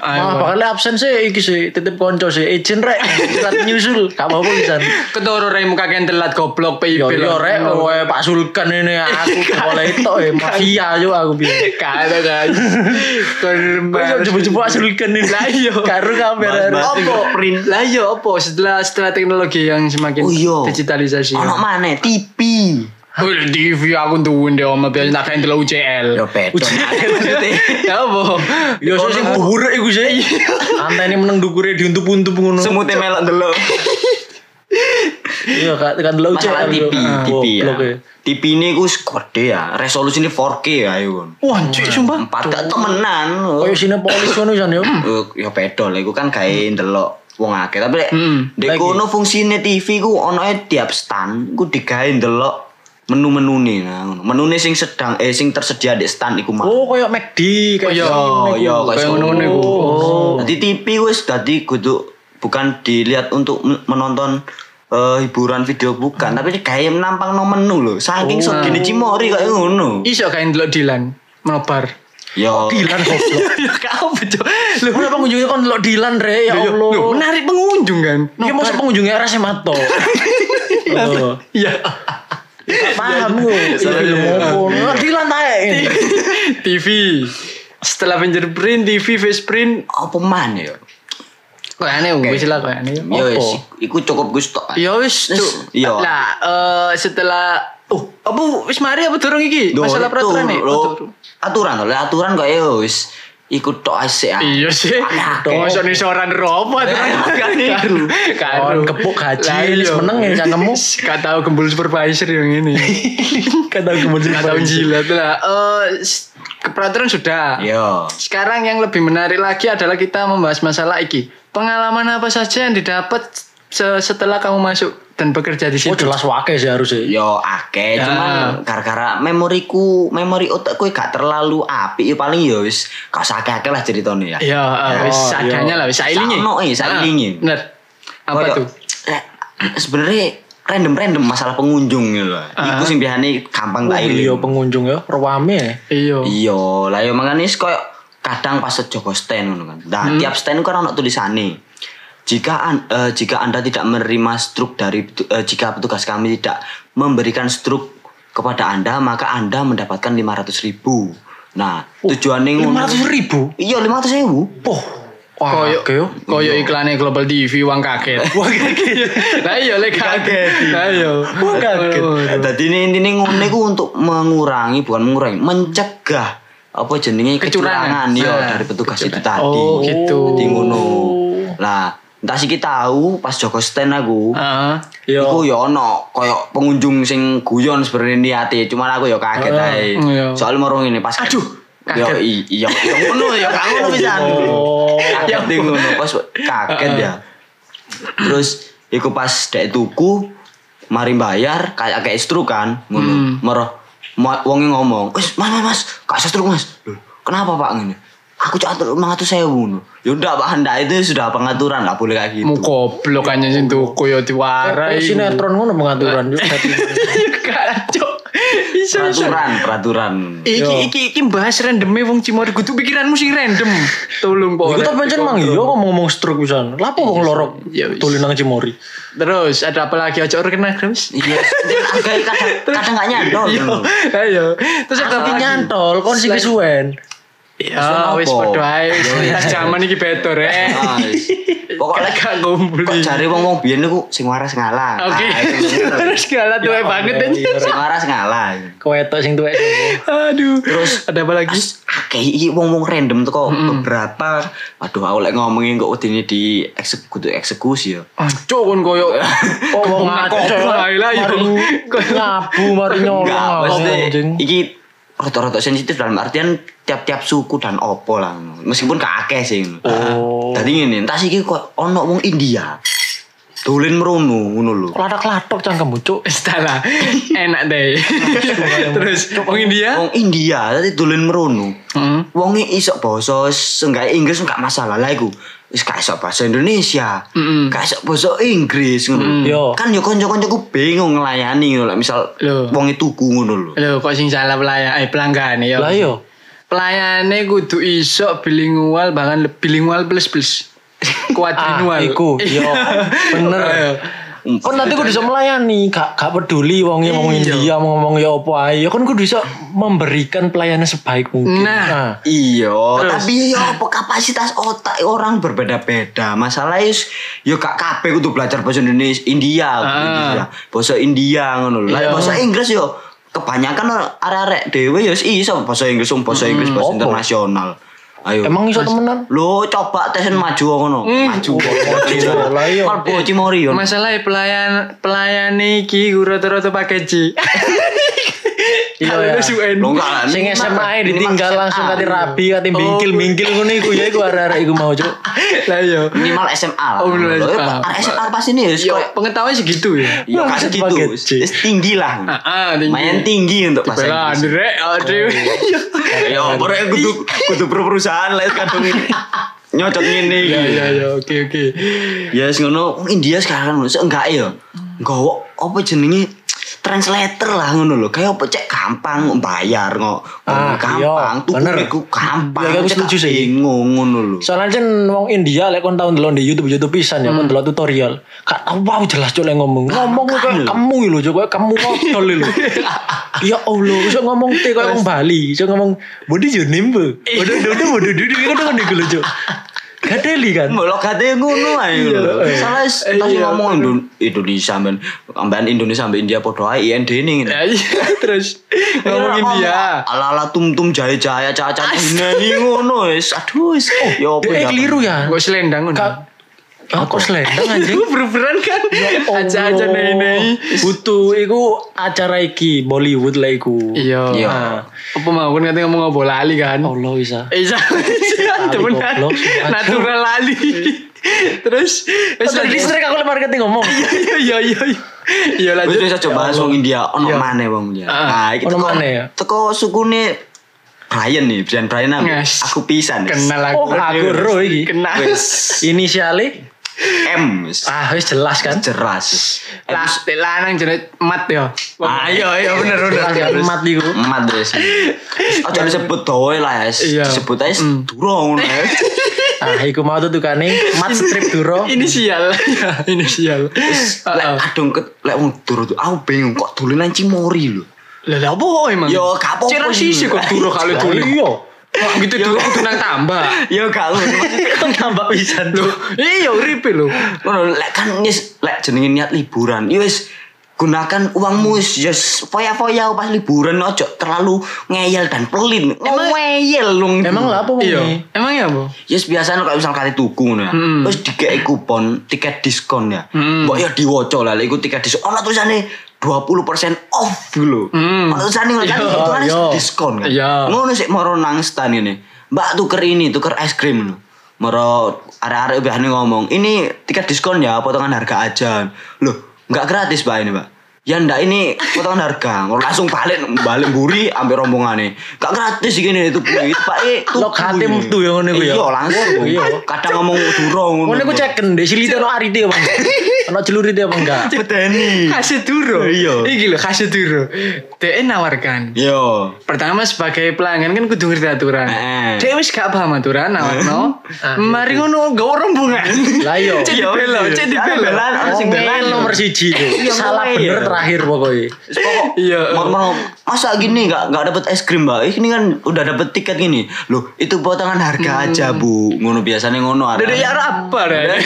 Ayo. Wah, bakal absen sih iki sih titip konco sih izin rek surat nyusul gak apa-apa pisan. Ketoro rek muka kain telat goblok PIP. Yo lo. yo rek Oh. woe Pak Sulkan ini aku boleh itu eh mafia yo aku biyen. Kado guys. Kok Korban. jebuk-jebuk Pak Sulkan ini. Lah, iya. Karo kamera. Mas, mas. Opo? Fingerprint. Lah iya opo setelah setelah teknologi yang semakin Oh iya. digitalisasi. Ono maneh TV. Oh, di TV aku nduwun deh oma biasa tak kain telu Yo UCL. bedo. Maksudnya. Ya opo. Yo sih sing buhur iku sih. Antene meneng dukure diuntup-untup ngono. Semutnya melok delok. Iya kan kan lo Masalah TV, Ah, TV ya. eh. TV ini gue gede ya, resolusi ini 4K ya, ayo. Wah, cuy sumpah. Oh, Empat gak temenan. Koyo sinepolis ngono jan yo. Eh, Ya beda lah, gue kan kayak delok wong akeh tapi lek Hmm, dek Hmm. lagi. kono fungsine TV ku ono e tiap stand ku digawe ndelok menu-menune nah ngono. Menune sing sedang eh sing tersedia di stand iku mah. Oh, koyo McD kayak iya. Oh, iya Kayak kayak ngono-ngono ngono iku. Oh. iku. Dadi TV wis dadi kudu bukan dilihat untuk men- menonton eh, hiburan video bukan, tapi kayak menampang no menu lho. Saking oh. gini cimori kayak ngono. Iso kain delok Dilan menobar. Oh, Yo. Dilan goblok. Ya kau bejo. Lho, kenapa ngunjungi kon delok Dilan, Re? Ya Yo, Allah. Loh, menarik pengunjung kan. Iki mosok pengunjunge arah Mato. Loh. Iya. Gak Paham lu. Iya, ngono. Dilan tae. TV. Setelah fingerprint, TV, faceprint, apa man ya? kok aneh wis lah kok aneh. Ya wis, iku cukup Gus tok. Ya wis, Cuk. Iya. Lah, eh, setelah Oh, apa wis mari apa dorong iki? Duh, Masalah itu peraturan nih. lho. Aturan lho, lek aturan kok ya wis iku tok asik. ah. Iya sih. dong. Masa nih seorang robot kan itu. Kon kepuk haji, iya. wis meneng ya cangkemmu. Gak tau gembul supervisor yang ini. Kata Gak tau jilat lah. Iya. Eh, s- peraturan sudah. Yo. Sekarang yang lebih menarik lagi adalah kita membahas masalah iki. Pengalaman apa saja yang didapat se- setelah kamu masuk dan bekerja di Oh, situ? jelas wakai sih harusnya. Yo akeh Ya. cuman gara-gara memoriku, memori otakku gak terlalu apik ya paling ya wis gak usah akeh-akeh lah ceritane ya. Ya, eh, wis Oh, seadanya iya. lah, wis sailingi. Sakno, eh, sailingi. Ah, Bener. Apa Koyo, tuh? eh, Sebenarnya random-random masalah pengunjung gitu loh. Iku sing biasane gampang tak iling. Ah. Iya, pengunjung ya, rame. Iya. Iya, lah yo mangane wis koyo kadang pas Joko stand ngono kan. Nah, Hmm. tiap stand kan ana tulisane. Jika an- eh, jika Anda tidak menerima struk dari petu- eh, jika petugas kami tidak memberikan struk kepada Anda, maka Anda mendapatkan 500.000 ribu. Nah, tujuannya ngono. 500 Oh, ribu? Iya, 500 ribu. Poh. Wah, Koyo oke yo. koyo iklane Global TV wang kaget. Wah, kayak Lah iya lek kaget. Lah iya. Wah, kaget. Jadi ini intinya ngono iku untuk mengurangi bukan mengurangi, mencegah apa Kecurangan. jenenge kecurangan, yo Nah, dari petugas itu tadi. Oh, gitu. Jadi ngono. Lah, entah sih tahu pas Joko stand aku. Heeh. Yo. Iku yo ono koyo pengunjung sing guyon sebenarnya niate, cuman aku yo kaget ae. iya. Soal moro ngene pas Aduh, Yo i- iya, yo ngono yo gak ngono pisan. Oh. Kaget ding ngono pas kaget ya. Terus iku pas dek tuku mari bayar kayak kayak istru kan ngono. Moro mo- wonge ngomong, "Wis, Mas, Mas, Mas, gak usah struk, Mas." Loh, kenapa Pak ngene? aku catur mengatur saya bunuh ya udah pak anda itu sudah pengaturan nggak boleh kayak gitu Mu goblok anjing sing tuku yo diwarai. Iya, Kayak Eh, sinetron ngono pengaturan Eh, juga. Kacau. Iso iso. peraturan peraturan Iki Yo. iki iki bahas randomnya wong Cimory kudu pikiranmu sing random. Tolong po. Iku tapi pancen mang iya ngomong-ngomong stroke pisan. Lapo wong lorok Iya, wis. tuli nang Cimori. Terus ada apa lagi ojo kena terus. iya kadang kadang nggak nyantol Oh, Ayo. Terus ada Tapi apa lagi? nyantol kon sing kesuwen. Ya wis apa? padha ae. Ya, wis. Kita Zaman iki better eh. Ah, wis. pokoknya Pokoknya gak ngumpulin. kok cari wong wong biyen niku sing waras ngalah Oke. Ah, itu Ya, bener. Terus gala tuwe banget anjing. sing waras ngalah Kowetok sing tuwek. iya. Aduh. Terus ada apa lagi? As, akeh iki wong-wong random teko beberapa aduh aku lek ngomongin kok udine di eksekusi eksekusi ya Anco kon koyo Oh wong Goblok ae lah iya. yo. Ngabu mari nyolong. enggak maksudnya ngomong, Oh, anjing. iki rata-rata sensitif dalam artian tiap-tiap suku dan opo lah meskipun gak akeh sih Oh. dadi ngene entas iki kok ono wong India dolen merono ngono lho Ladak-ladak cangkem cuk. Salah. Enak deh. Terus wong India? Hmm? wong India tadi dolen merono Heeh. wonge iso basa senggae Inggris gak masalah lah iku wis gak iso basa Indonesia Mm-mm. gak iso basa Inggris ngono Yo. kan yo kanca-kancaku bingung ngelayani ngono lah misal Loh. wonge tuku ngono lho Lho kok sing salah pelayan eh pelanggan ya. Lah iya. yo. Pelayane kudu iso bilingual bahkan le- bilingual plus plus. Kuadrinual. Ah, iku, yo. Bener. Ayo. Kon nanti kudu bisa melayani, gak gak peduli wong yang ngomong Iya. India, mau ngomong ya apa ae. Ya Kon kudu bisa memberikan pelayanan sebaik mungkin. Nah. Iya, Terus? tapi ya apa kapasitas otak orang berbeda-beda. Masalahnya is yo gak kabeh kudu belajar bahasa Indonesia, India, kudu Ah. India. bahasa India ngono lho. Lah Iya. bahasa Inggris yo kebanyakan arek-arek dhewe yo iso bahasa Inggris, wong bahasa Inggris bahasa Apa? internasional. Ayo. Emang iso temenan? Hmm. Lo coba tesen maju ngono. Maju. Lah iya. Malbo Cimori yo. Masalah e pelayan pelayan iki guru rata-rata pakai J. Iya, Kalau ya. lu UN. Lo enggak lah. Sing ini mah- SMA ini mah ditinggal SMA. Ah. langsung kate rabi, kate bingkil-bingkil Oh, ngono iku ya iku arek-arek iku mau cuk. Lah yo. minimal SMA lah. Oh, minimal Lo, ya, SMA. arek SMA pasti nih Iya. Yo pengetahuan segitu ya. Yo Nah, kasih gitu. sebagai C. Wis Tinggi lah. Ah, ah, tinggi. Main tinggi untuk bahasa Bela Inggris. Andre, aduh. Ya opo rek kudu kudu pro perusahaan lah kadung ini. Nyocot ngene Iya, Ya iki. ya ya, oke oke. Ya wis ngono wong India sekarang ngono sik enggak ya. Nggowo apa jenenge translator lah ngono lho. Kayak apa cek gampang bayar ngo. Ah, iya, gampang tuku bener. iku gampang. Iya, aku Cek setuju sih. Bingung ngono lho. Soalnya kan wong India lek kon tau ndelok di YouTube YouTube pisan ya, kon ndelok tutorial. Gak tau wow jelas cuk lek ngomong. Ngomong makan kayak lho. kamu lho cuk, kayak kamu modal lho. Ya Allah, iso ngomong te kayak wong Bali, iso ngomong bodi yo nimbe. Bodo dodo bodo dodo iku ngono iku lho cuk. Gadeli kan. Mbok logate ngono ae lho. iya. Salah wis tadi Iya, ngomong Indo- Indonesia men. Ambean Indonesia ambe India padha ae IND ning. Ya iya, terus Iya, ngomong India. ala ala tum tum jahe jahe caca caca ini ngono wis aduh wis oh ya apa Dia keliru ya. Kok selendang ngono? Kak, Ah, kok selendang anjing? Ya Gue beruberan kan Aja-aja Allah. nei-nei Butuh iku acara iki Bollywood lah iku. Iya Iya. Ah. Apa mau kan katanya ngomong ngobrol lali kan Allah bisa. Iya Temenan goblok, sumpah. Natural lali Terus Terus Tadi listrik aku lempar marketing ngomong. Iya iya iya Iya Wis lanjut wis aja bahas wong India ono maneh wong India. Ah, Nah, iki ono teko- maneh ya? Teko sukune Brian nih, Brian Brian aku, Yes. aku pisan. wis. Kenal aku Oh, aku ro iki. Kenal Wis. Inisiale M wis. ah wis jelas kan. jeras. wis. Lah lanang jenis mat ya Ayo ayo bener bener. Jelas kan mat iku. Empat wis. Aja disebut doe lah ya. Iya. Disebut ae durung ngono ya. Ah iku mau tuh tukane mat strip duro. Inisial Ya, Inisial Lek Ah, ah. adung ket- lek wong duro tuh aku bingung kok dolenan Cimori lho. Lah lah apa emang Yo, gak apa-apa Cerah sih. sisi kok duro kalau Lah, dulu Iya. Wah, gitu dulu kudu nang tambah. Ya gak ngono. Kan tambah pisan Loh, iya uripe lho. Ngono lek kan wis lek jenenge niat liburan. Ya wis gunakan uangmu wis yes, foya-foya pas liburan ojo terlalu ngeyel dan pelin. Ngeyel lung. Emang lah apa Iya. wong Emang ya, Bu? Yes biasanya kalau misal kali tuku ngono ya. Hmm. Terus dikei kupon tiket diskon ya. Mbok ya diwoco lah lek iku tiket diskon. Ono tulisane 20% off gitu lho. Hmm. Ono tulisane ngono kan Iya, itu kan iya. diskon kan. Iya. Ngono sik moro nang stan ini. Mbak tuker ini, tuker es krim lho. Moro arek-arek biasanya ngomong, "Ini tiket diskon ya, potongan harga aja." Loh, nggak gratis, Mbak ini, Mbak. ya ndak ini potongan harga Ngono langsung balik balik buri ambil rombongane gak gratis iki ngene itu kuwi itu Pak e Lo katim tuh yang ngene ku ya. iya Oh, langsung Iya. kadang ngomong duro ngono Ngono iku cekken deh silite ono arite apa enggak. Ono celurite apa enggak. bedeni Kasih duro. Iya. Iki lho kasih duro. Dek nawarkan. yo Pertama sebagai pelanggan kan kudu ngerti aturan. Heeh. Dek wis gak paham aturan nawarno. Ah, Mari ngono gawe rombongan. Lah iya. Cek dibela, cek Oh, dibela. belan Ono sing belan nomor 1 Iya, Salah ngomel. bener terakhir pokoknya. Terus pokok Iya. mau mau masa gini nggak nggak dapat es krim mbak ini kan udah dapat tiket gini loh itu potongan harga aja bu ngono biasanya ngono ada Hmm. Dede ya apa ya?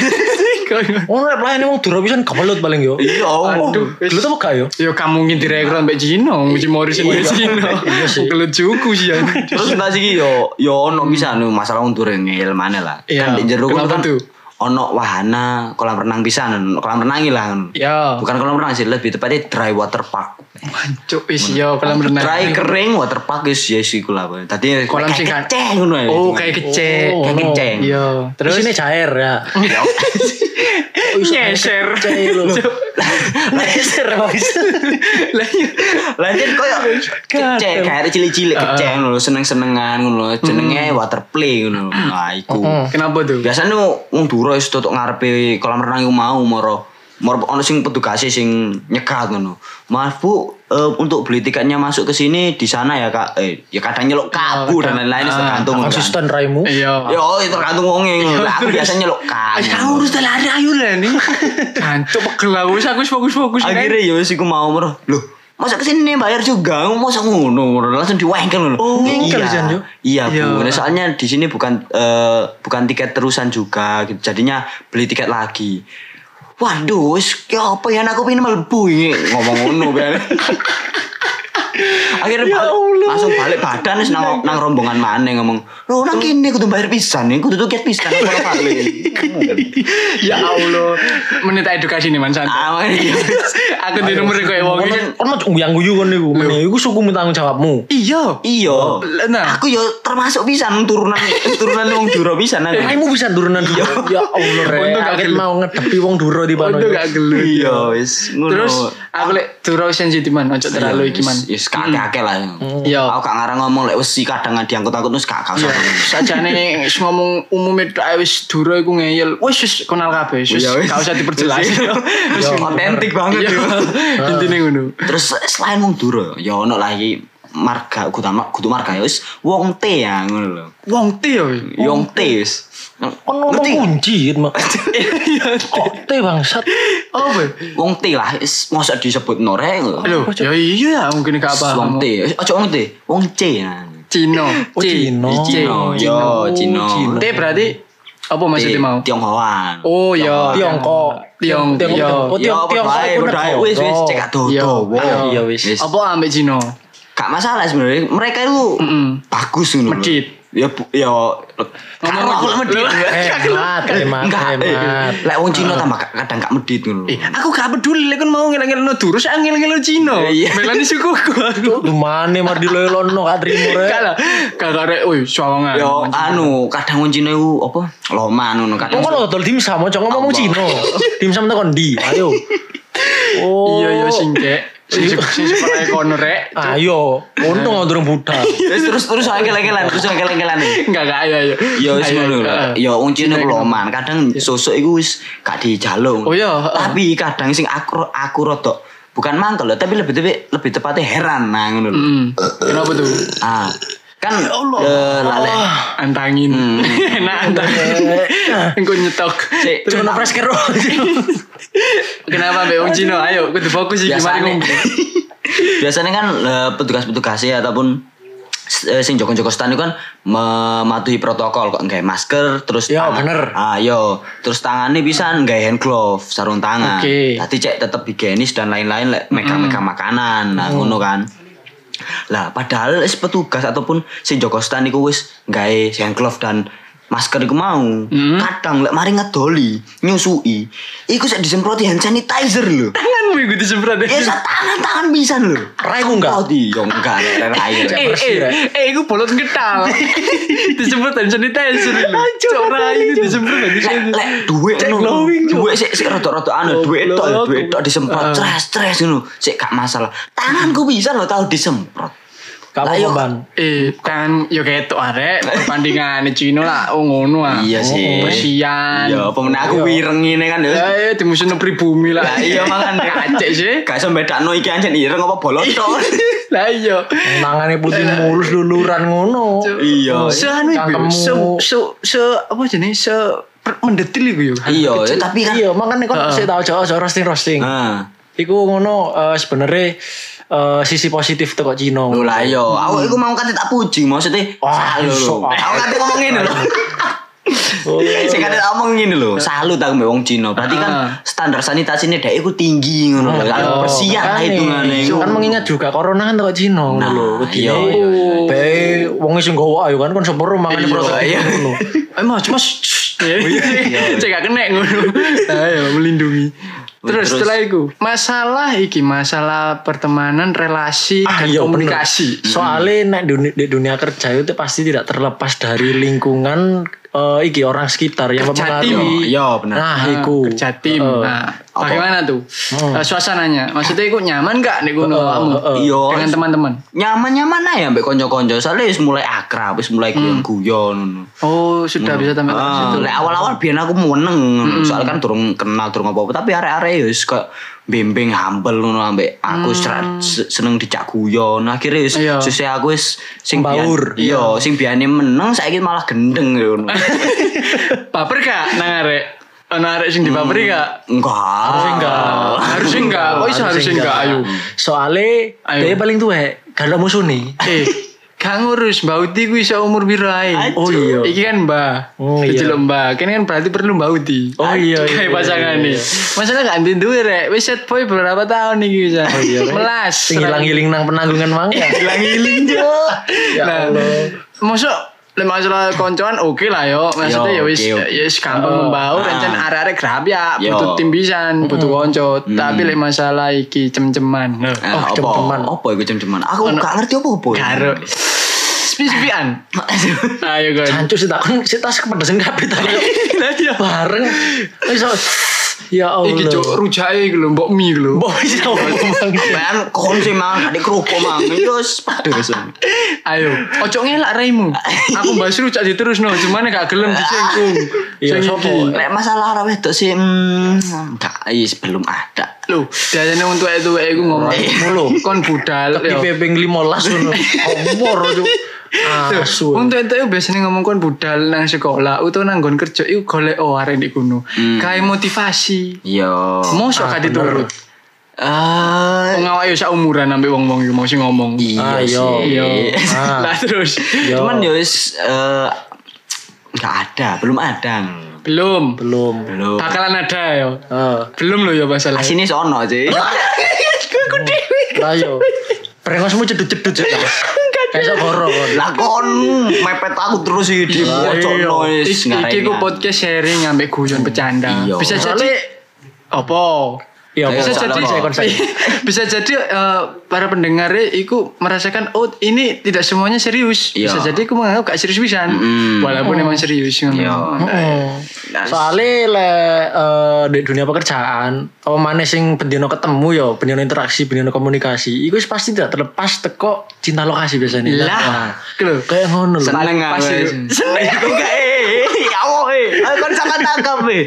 Ngono rek pelayan wong dura pisan kebelut paling yo. iya Aduh. aduh Gelut apa gak yo? Yo kamu mungkin direkrut mbak Cino, Muji Morris mbak Cino. Iya Kelut cuku sih ya. terus nggak sih yo yo ono bisa nih masalah untuk ngel mana lah Hmm. Iya. kan di jeruk itu Kenapa kan tuh? ono wahana kolam renang bisa kolam renang lah Iya. Ya, bukan kolam renang sih lebih tepatnya dry water park cuk wis yo kolam renang. dry kering water park is yes iku lah Boy. tadi Kolam kayak sing kan- keceng ngono ya Oh, kayak kecek. Oh, Kayak no. keceng. Iya. Terus ini cair ya. Nyeser. Cair lho. Laser wis. Lah, iya. lanjut koyo keceng kayak cilik-cilik keceng ngono seneng-senengan Hmm. ngono jenenge water play ngono nah iku Kenapa tuh? biasanya wong dura wis tutuk ngarepe kolam renang iku mau moro moro ono sing petugasnya sing nyegat ngono maaf bu eh, untuk beli tiketnya masuk ke sini di sana ya kak eh ya kadang nyelok Ah, kabu dan lain-lain itu tergantung kan. Konsisten raimu. Iya. Yo, itu tergantung wonge ngono. Lah, aku biasanya nyelok kabu. Kamu harus lari ayo lah nih. Cantuk pegel aku wis aku wis fokus-fokus kan. akhirnya ya wis iku mau mero loh masa kesini bayar juga masa ngono mero langsung diwangkel loh Oh, ngengkel, iya Jan, Jo. iya bu Iya. Nah, soalnya di sini bukan eh, bukan tiket terusan juga gitu. jadinya beli tiket lagi waduh wis ya apa ya aku pengen melebu ini ngomong ngono kan akhirnya balik- langsung balik badan wis nang, nang rombongan mana ngomong lo nang kini kudu bayar pisan nih kudu tiket pisan aku balik Ya Allah, menit edukasi nih Man Santai. Aman, iya. Aku di nomor kayak wong iki. Kan mau yang guyu kan iku. Meneh iku sukumu tanggung jawabmu. Iya. Iya. Nah, Aku yo termasuk pisan turunan turunan wong Duro pisan aku. Raimu bisa turunan dura. Ya Allah. Rek. Untung gak Aku gelem. mau ngedepi wong dura di pano. untuk gak gelu. Iya wis ngono. Iya, Terus aku lek durau sensitif man, ojo terlalu iki man. Yes, kakek-kakek lah. Iya. Aku gak ngarang ngomong lek wesi kadang diangkut-angkut terus gak gak usah. Sajane wis ngomong umume tok wis durau iku ngeyel. Wis wis kenal kabeh, wis Iya, wis. gak usah diperjelas. Terus otentik banget Iya. yo. Intine ngono. Iya. Terus selain wong Duro, ya ono lagi marga utama kudu marga ya wis wong T ya ngono lho. Ya Wong ti yo. Wong T wis. Kan ngomong kunci kan, Mak. Iya, Kok teh bangsat. Oh, boy. Wong T lah wis mosok disebut norek lho. Loh, ya iya mungkin gak paham. Wong T, ojo wong T, wong C ya. Cino. Oh, C. Cino. ya. C. Cino, yo Cino. T berarti apa maksudnya mau? Tionghoa. Oh ya. Tiongkok. Tiong- iya. Tiong- Oh, Tiong- Tiongkok. bae, iku bae. negara. Wis wis cek atuh. Yo. Ah, Iya wis. Wis. Apa ambek Cino? Gak masalah sebenarnya. Mereka itu bagus ngono. lho. Medit. Ya bu- ya Ngomong eh. karo aku lek medit. Eh, Hemat, hemat, Enggak. eh, hemat. Lek wong Cina tambah gak- kadang gak medit ngono. Eh, aku gak peduli lek kon mau ngeleng-ngelengno durus aku ngeleng-ngelengno Cino. Iya, iya. Melani sukuku aku. Dumane mar dilelono gak trimo rek. Kalah. Kagak oi sawangan. Yo anu, kadang wong Cina itu apa? Loman ngono kadang. Wong kan dodol dimsum aja ngomong Cino. Dimsum tekan ndi? Ayo. Oh. Iya yo sing cek. Sing sing- sing sepele kono rek. Ayo, untung aku durung budal. Terus terus terus angel-angelan, terus angel-angelan. Enggak enggak ayo ayo. Ya wis iya, Ayo, eh. ngono ayo. lho. Ya wong Cina ku loman, kadang sosok iku wis gak dijaluk. Oh, iya, heeh. Tapi kadang sing aku aku rada bukan mangkel lho, tapi lebih tepi- lebih tepatnya heran nah ngono lho. Hmm. Kenapa tuh? Oh, Ah. Kan eh lale Antangin. Enak antangin. Engko nyetok. Sik, Cuma fresh kero. Kenapa Mbak Wong Cino? Ayo, kudu fokus iki mari biasanya ngombe. biasanya kan eh, petugas-petugasnya ataupun eh, sing joko-joko stan itu kan mematuhi protokol kok nggak masker terus Ya, tangan- bener. ah yo terus tangannya bisa nggak hand glove sarung tangan Oke. tapi cek tetap higienis dan lain-lain lek megang-megang makanan nah ngono kan lah padahal wis petugas ataupun sing joko stan iku wis nggae hand glove dan masker iku mau kadang lek mari ngedoli nyusui iku sak disemproti hand sanitizer lho Tanganmu iku disemprot. ya sak tangan tangan pisan lho Rai ku enggak? Oh, iya enggak lek air Eh, bersih, eh, Rek. eh, iku bolot ketal. disemprot hand sanitizer lho. Cok rai ini disemprot hand lek sanitizer. lek duit Cek ngono glowing, Cuk. duit sik sik rada-rada anu duit Goblok. tok duit tok disemprot Ah. stres stres ngono sik gak masalah tanganku bisa lho tau disemprot Gak Lah, yo. apa-apa, Ban. Eh, kan yo ketok ah, arek perbandingane Cino lah oh ngono ah. Iya sih. Persian. ya apa meneh aku wireng ngene kan ya Ya, di musim eh, pribumi lah. Lah, iya makan kacek sih. Gak iso bedakno iki anjen ireng apa boloto. Lah iya. Tangannya putih mulus luluran ngono. Iya. Se anu iku, Cangkemmu. se se se apa jenenge se per- mendetil iku yo. Iya, ya, tapi kan Ah. Iya, Heeh. makanya kan sik tau jauh jauh roasting roasting. Nah, Iku ngono eh, sebenarnya eh, sisi positif teko Cino. lho Oh, lah iya. Aku iku mau kan tak puji maksudnya. Hmm. Wah, salut lho. iso. Aku kan ngomong ngene lho. Oh. Sing kan tak ngomong ngene lho. Salut aku mbek wong Cina. Berarti kan Ah. standar sanitasinya dhek iku tinggi ngono lho. Kan Oh, bersihan lah makanya. hitungane. Kan mengingat juga corona kan teko Cino ngono Nah, lho. iya, iya, iya. Bae wong sing gowo ayo kan kon sepuro mangane Iya, protein iya. ngono. Eh mas, mas. Cek gak kena ngono. Ayo melindungi. Terus Terus. setelah itu masalah iki masalah pertemanan, relasi Ah, dan iya, Hmm. komunikasi. bener. Soalnya nek dunia, di dunia kerja itu pasti tidak terlepas dari lingkungan eh, iki orang sekitar yang Kerja mempengaruhi. tim. Iya, bener. Nah, Ah, iku. Oh. kerja tim. Heeh. Nah, bagaimana tuh Hmm. Eh, suasananya? Maksudnya ikut nyaman gak nih ngono Heeh, kamu heeh. Iya. dengan teman-teman? Nyaman-nyaman aja mbek kanca-kanca. Soale wis mulai akrab, wis mulai Hmm. guyon-guyon ngono. Oh, sudah bisa tampil ke Ah, situ. Lek awal-awal biyen aku meneng soalnya kan durung kenal durung apa-apa tapi arek-arek ya wis kayak bimbing humble ngono ambek aku serat- se- seneng dijak guyon akhire wis Iya. susah aku wis sing biyen- Membaur. iya sing biyane meneng saiki malah gendeng ya ngono. Baper gak nang arek? Ono arek sing dibaperi gak? Enggak. Harusnya enggak. Harusnya enggak. Ah, Kok iso harusnya enggak ayo. Soale Ayo. dia paling tua kalau musuh nih. Eh, gak ngurus Mbak Uti ku iso umur biru ae. Oh iya. Iki kan Mbak. Oh, iya. Dijeluk Mbak. Kene kan berarti perlu Mbak Uti. Oh, iya, iya, Kayak iya, pasangan iya, nih. Masalah gak anti duwe rek. Wis set boy berapa tahun iki bisa. Oh iya. Melas. Sing hilang-hiling nang penanggungan mang ya. Hilang-hiling yo. Ya Nah, Allah. mosok lek masalah koncoan oke lah yo. Maksudnya Yo, ya wis oke, oke. ya wis gampang Oh. membaur ah. encen arek-arek grab ya Yo. butuh tim pisan, butuh konco. Tapi lek masalah iki cem-ceman. Eh, Oh, apa? cem-ceman. Apa iku cem-ceman? Aku gak ngerti apa-apa. Karo spesifikan. Ayo guys. Hancur sih tak sih tas kepedesan kabeh tak. iya. Bareng. Iso Ya Allah. e Iki cok rujake iku lho, mbok mi iku lho. Boy, ya Allah. Ben kon sing mangan adik kerupuk mang. Yo wis pedes. Ayo, ojo ngelak raimu. Aku mbak rujak diterusno, cuman gak gelem dicengkung. Iya, Sing sopo? iki. Lek masalah arek wedok sih hmm, enggak, wis belum ada. Lho, biasanya untuk itu aku ngomong mulu, kon budal Di yo. PP 15 ngono. Kompor cuk. Asu. Untuk itu biasanya ngomong kon budal nang sekolah, utawa nang nggon kerja iku golek oh arek di kuno. Kayak motivasi. Yo. Mosok gak diturut. Ah, Wong awake yo sak umuran sampe wong-wong iku mau sing ngomong. Iya Ayo. sih. Yo. Ah. Lah terus. Yo. Cuman ya wis eh, nggak ada, belum ada. Belum. Belum. Belum. Bakalan ada yo. Heeh. Belum loh ya masalahnya. Asine sono sih. Ayo. Brengosmu cedut-cedut cuk. Kayak goro kon. iya. Lah kon mepet aku terus iki di iya. pojokno Ik- wis ya. Iki ku podcast sharing ambek guyon bercanda. Iya. Bisa jadi Soalnya- opo? Ya, Ayo, bisa soalnya jadi Iya. apa? konsep. bisa jadi eh, para pendengarnya iku merasakan oh ini tidak semuanya serius. Iya. Bisa jadi aku menganggap gak serius pisan. Mm. Walaupun emang serius ngono. Iya. Hmm. Heeh. Soale le eh, di dunia pekerjaan, apa maneh sing bendino ketemu ya, bendino interaksi, bendino komunikasi, iku wis pasti tidak terlepas teko cinta lokasi biasanya. Lah. Wah, Lho. kayak ngono lho. Seneng Pas aku. itu. Seneng aku gak eh. eh, Ya Allah, eh. Ayo kon salah tangkap eh.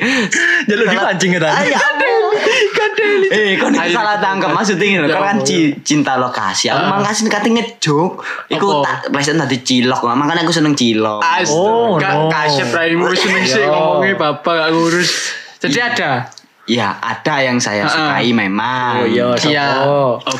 Jalur dipancing ya, Tan. Ah, ya ampun. Kan Eh, kon itu salah tangkap maksudnya ini Ya lho. Kon kan ci- cinta lokasi. Aku mang kasih kate ngejok. Iku Ah. Apa? Ah, tak pleset tadi cilok. Makanya aku seneng cilok. Oh, Astaga, no. kasep raimu seneng sih Iya. ngomongnya bapak gak ngurus. Jadi ada. Ya ada yang saya Heeh. sukai memang. Oh iya, sopo.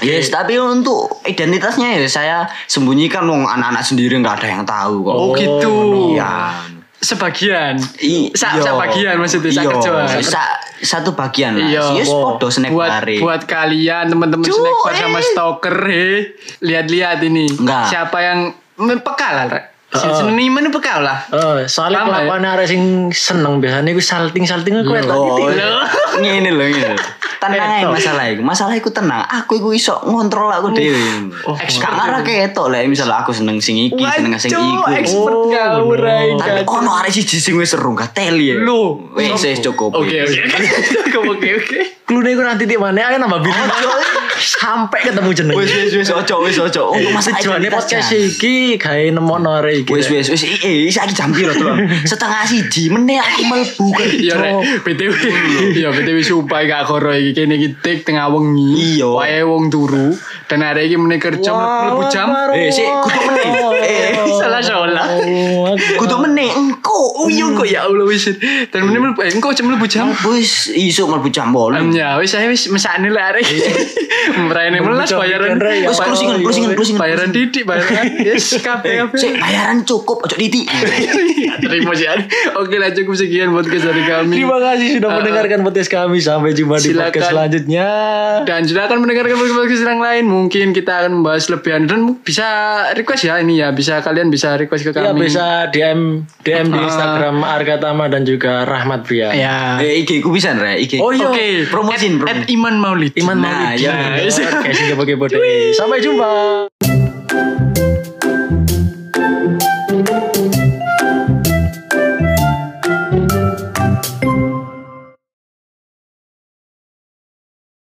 Iya. Yes, tapi untuk identitasnya ya saya sembunyikan wong anak-anak sendiri nggak ada yang tahu kok. Oh, gitu. Iya. Sebagian. I- Sa, sa iya. bagian maksudnya sa Iya, kerjaan. sa- satu bagian lah. Iya. Yes, Wow. podo snack buat bare. buat kalian teman-teman Cuy. snack bar sama stalker he lihat-lihat ini Enggak. siapa yang mem- peka lah Rek. Seneng mana pekau lah. Eh, soalnya Lama ya? kelakuan arek sing seneng biasanya gue salting salting gue tak Oh, titik. ngene lho ngene. lho. Tenang ae masalah iku. Masalah iku tenang. Aku iku iso ngontrol aku dhewe. Oh, gak ngarah ketok lah misalnya aku seneng sing iki, seneng sing Waduh, iku. expert Kan- Oh, kau bener. Rai. Tapi ono arek siji sing wis seru gak teli ya. Lho. wis wis cukup. Oke oke. Cukup, Oke oke. Klune gue nanti titik mana? Ayo nambah bintang. Ojo. Sampai ketemu jeneng. Oh, iya. Wis wis wis ojo wis ojo. Oh, Eh, Untuk masalah Tujuannya identitas, podcast Jan. iki gawe nemokno arek iki. Wis wis wis iki saiki jam piro to? Setengah siji meneh aku mlebu Iya kerja. rek, BTW. Iya BTW sumpah gak koro iki kene iki tik tengah wengi. Iya. Wayahe wong turu dan arek iki meneh kerja mlebu jam. Eh, sik, kudu meneh. Eh, salah salah. Oh, Kudu meneh engko. Oh iya kok ya Allah wis. Dan meneh mlebu eh, engko jam mlebu jam. Wis iso mlebu jam 8. Em, Ya wis saya wis mesakne lah arek. Meraine melas Jam bayaran. weekend, Rek, ya. Wis closingan, closingan, closingan. Bayaran didik, bayaran. Yes, kabeh kabeh. Sik bayaran cukup ojo titik. Terima kasih. Oke lah cukup sekian podcast dari kami. Terima kasih sudah Eh, mendengarkan podcast kami. Sampai jumpa di Silakan. podcast selanjutnya. Dan silakan mendengarkan podcast-podcast yang lain. Mungkin kita akan membahas lebihan dan bisa request ya ini ya. Bisa kalian bisa request ke Ya kami. Ah. bisa DM DM di Instagram Arkatama dan juga Rahmat Bria. Ya. Eh IG ku pisan re, IG. Oh iya. Oke, At, promosin, promosin. at Iman Maulid. Iman Nah, Maulid. ya. Nah, ya. Sampai jumpa.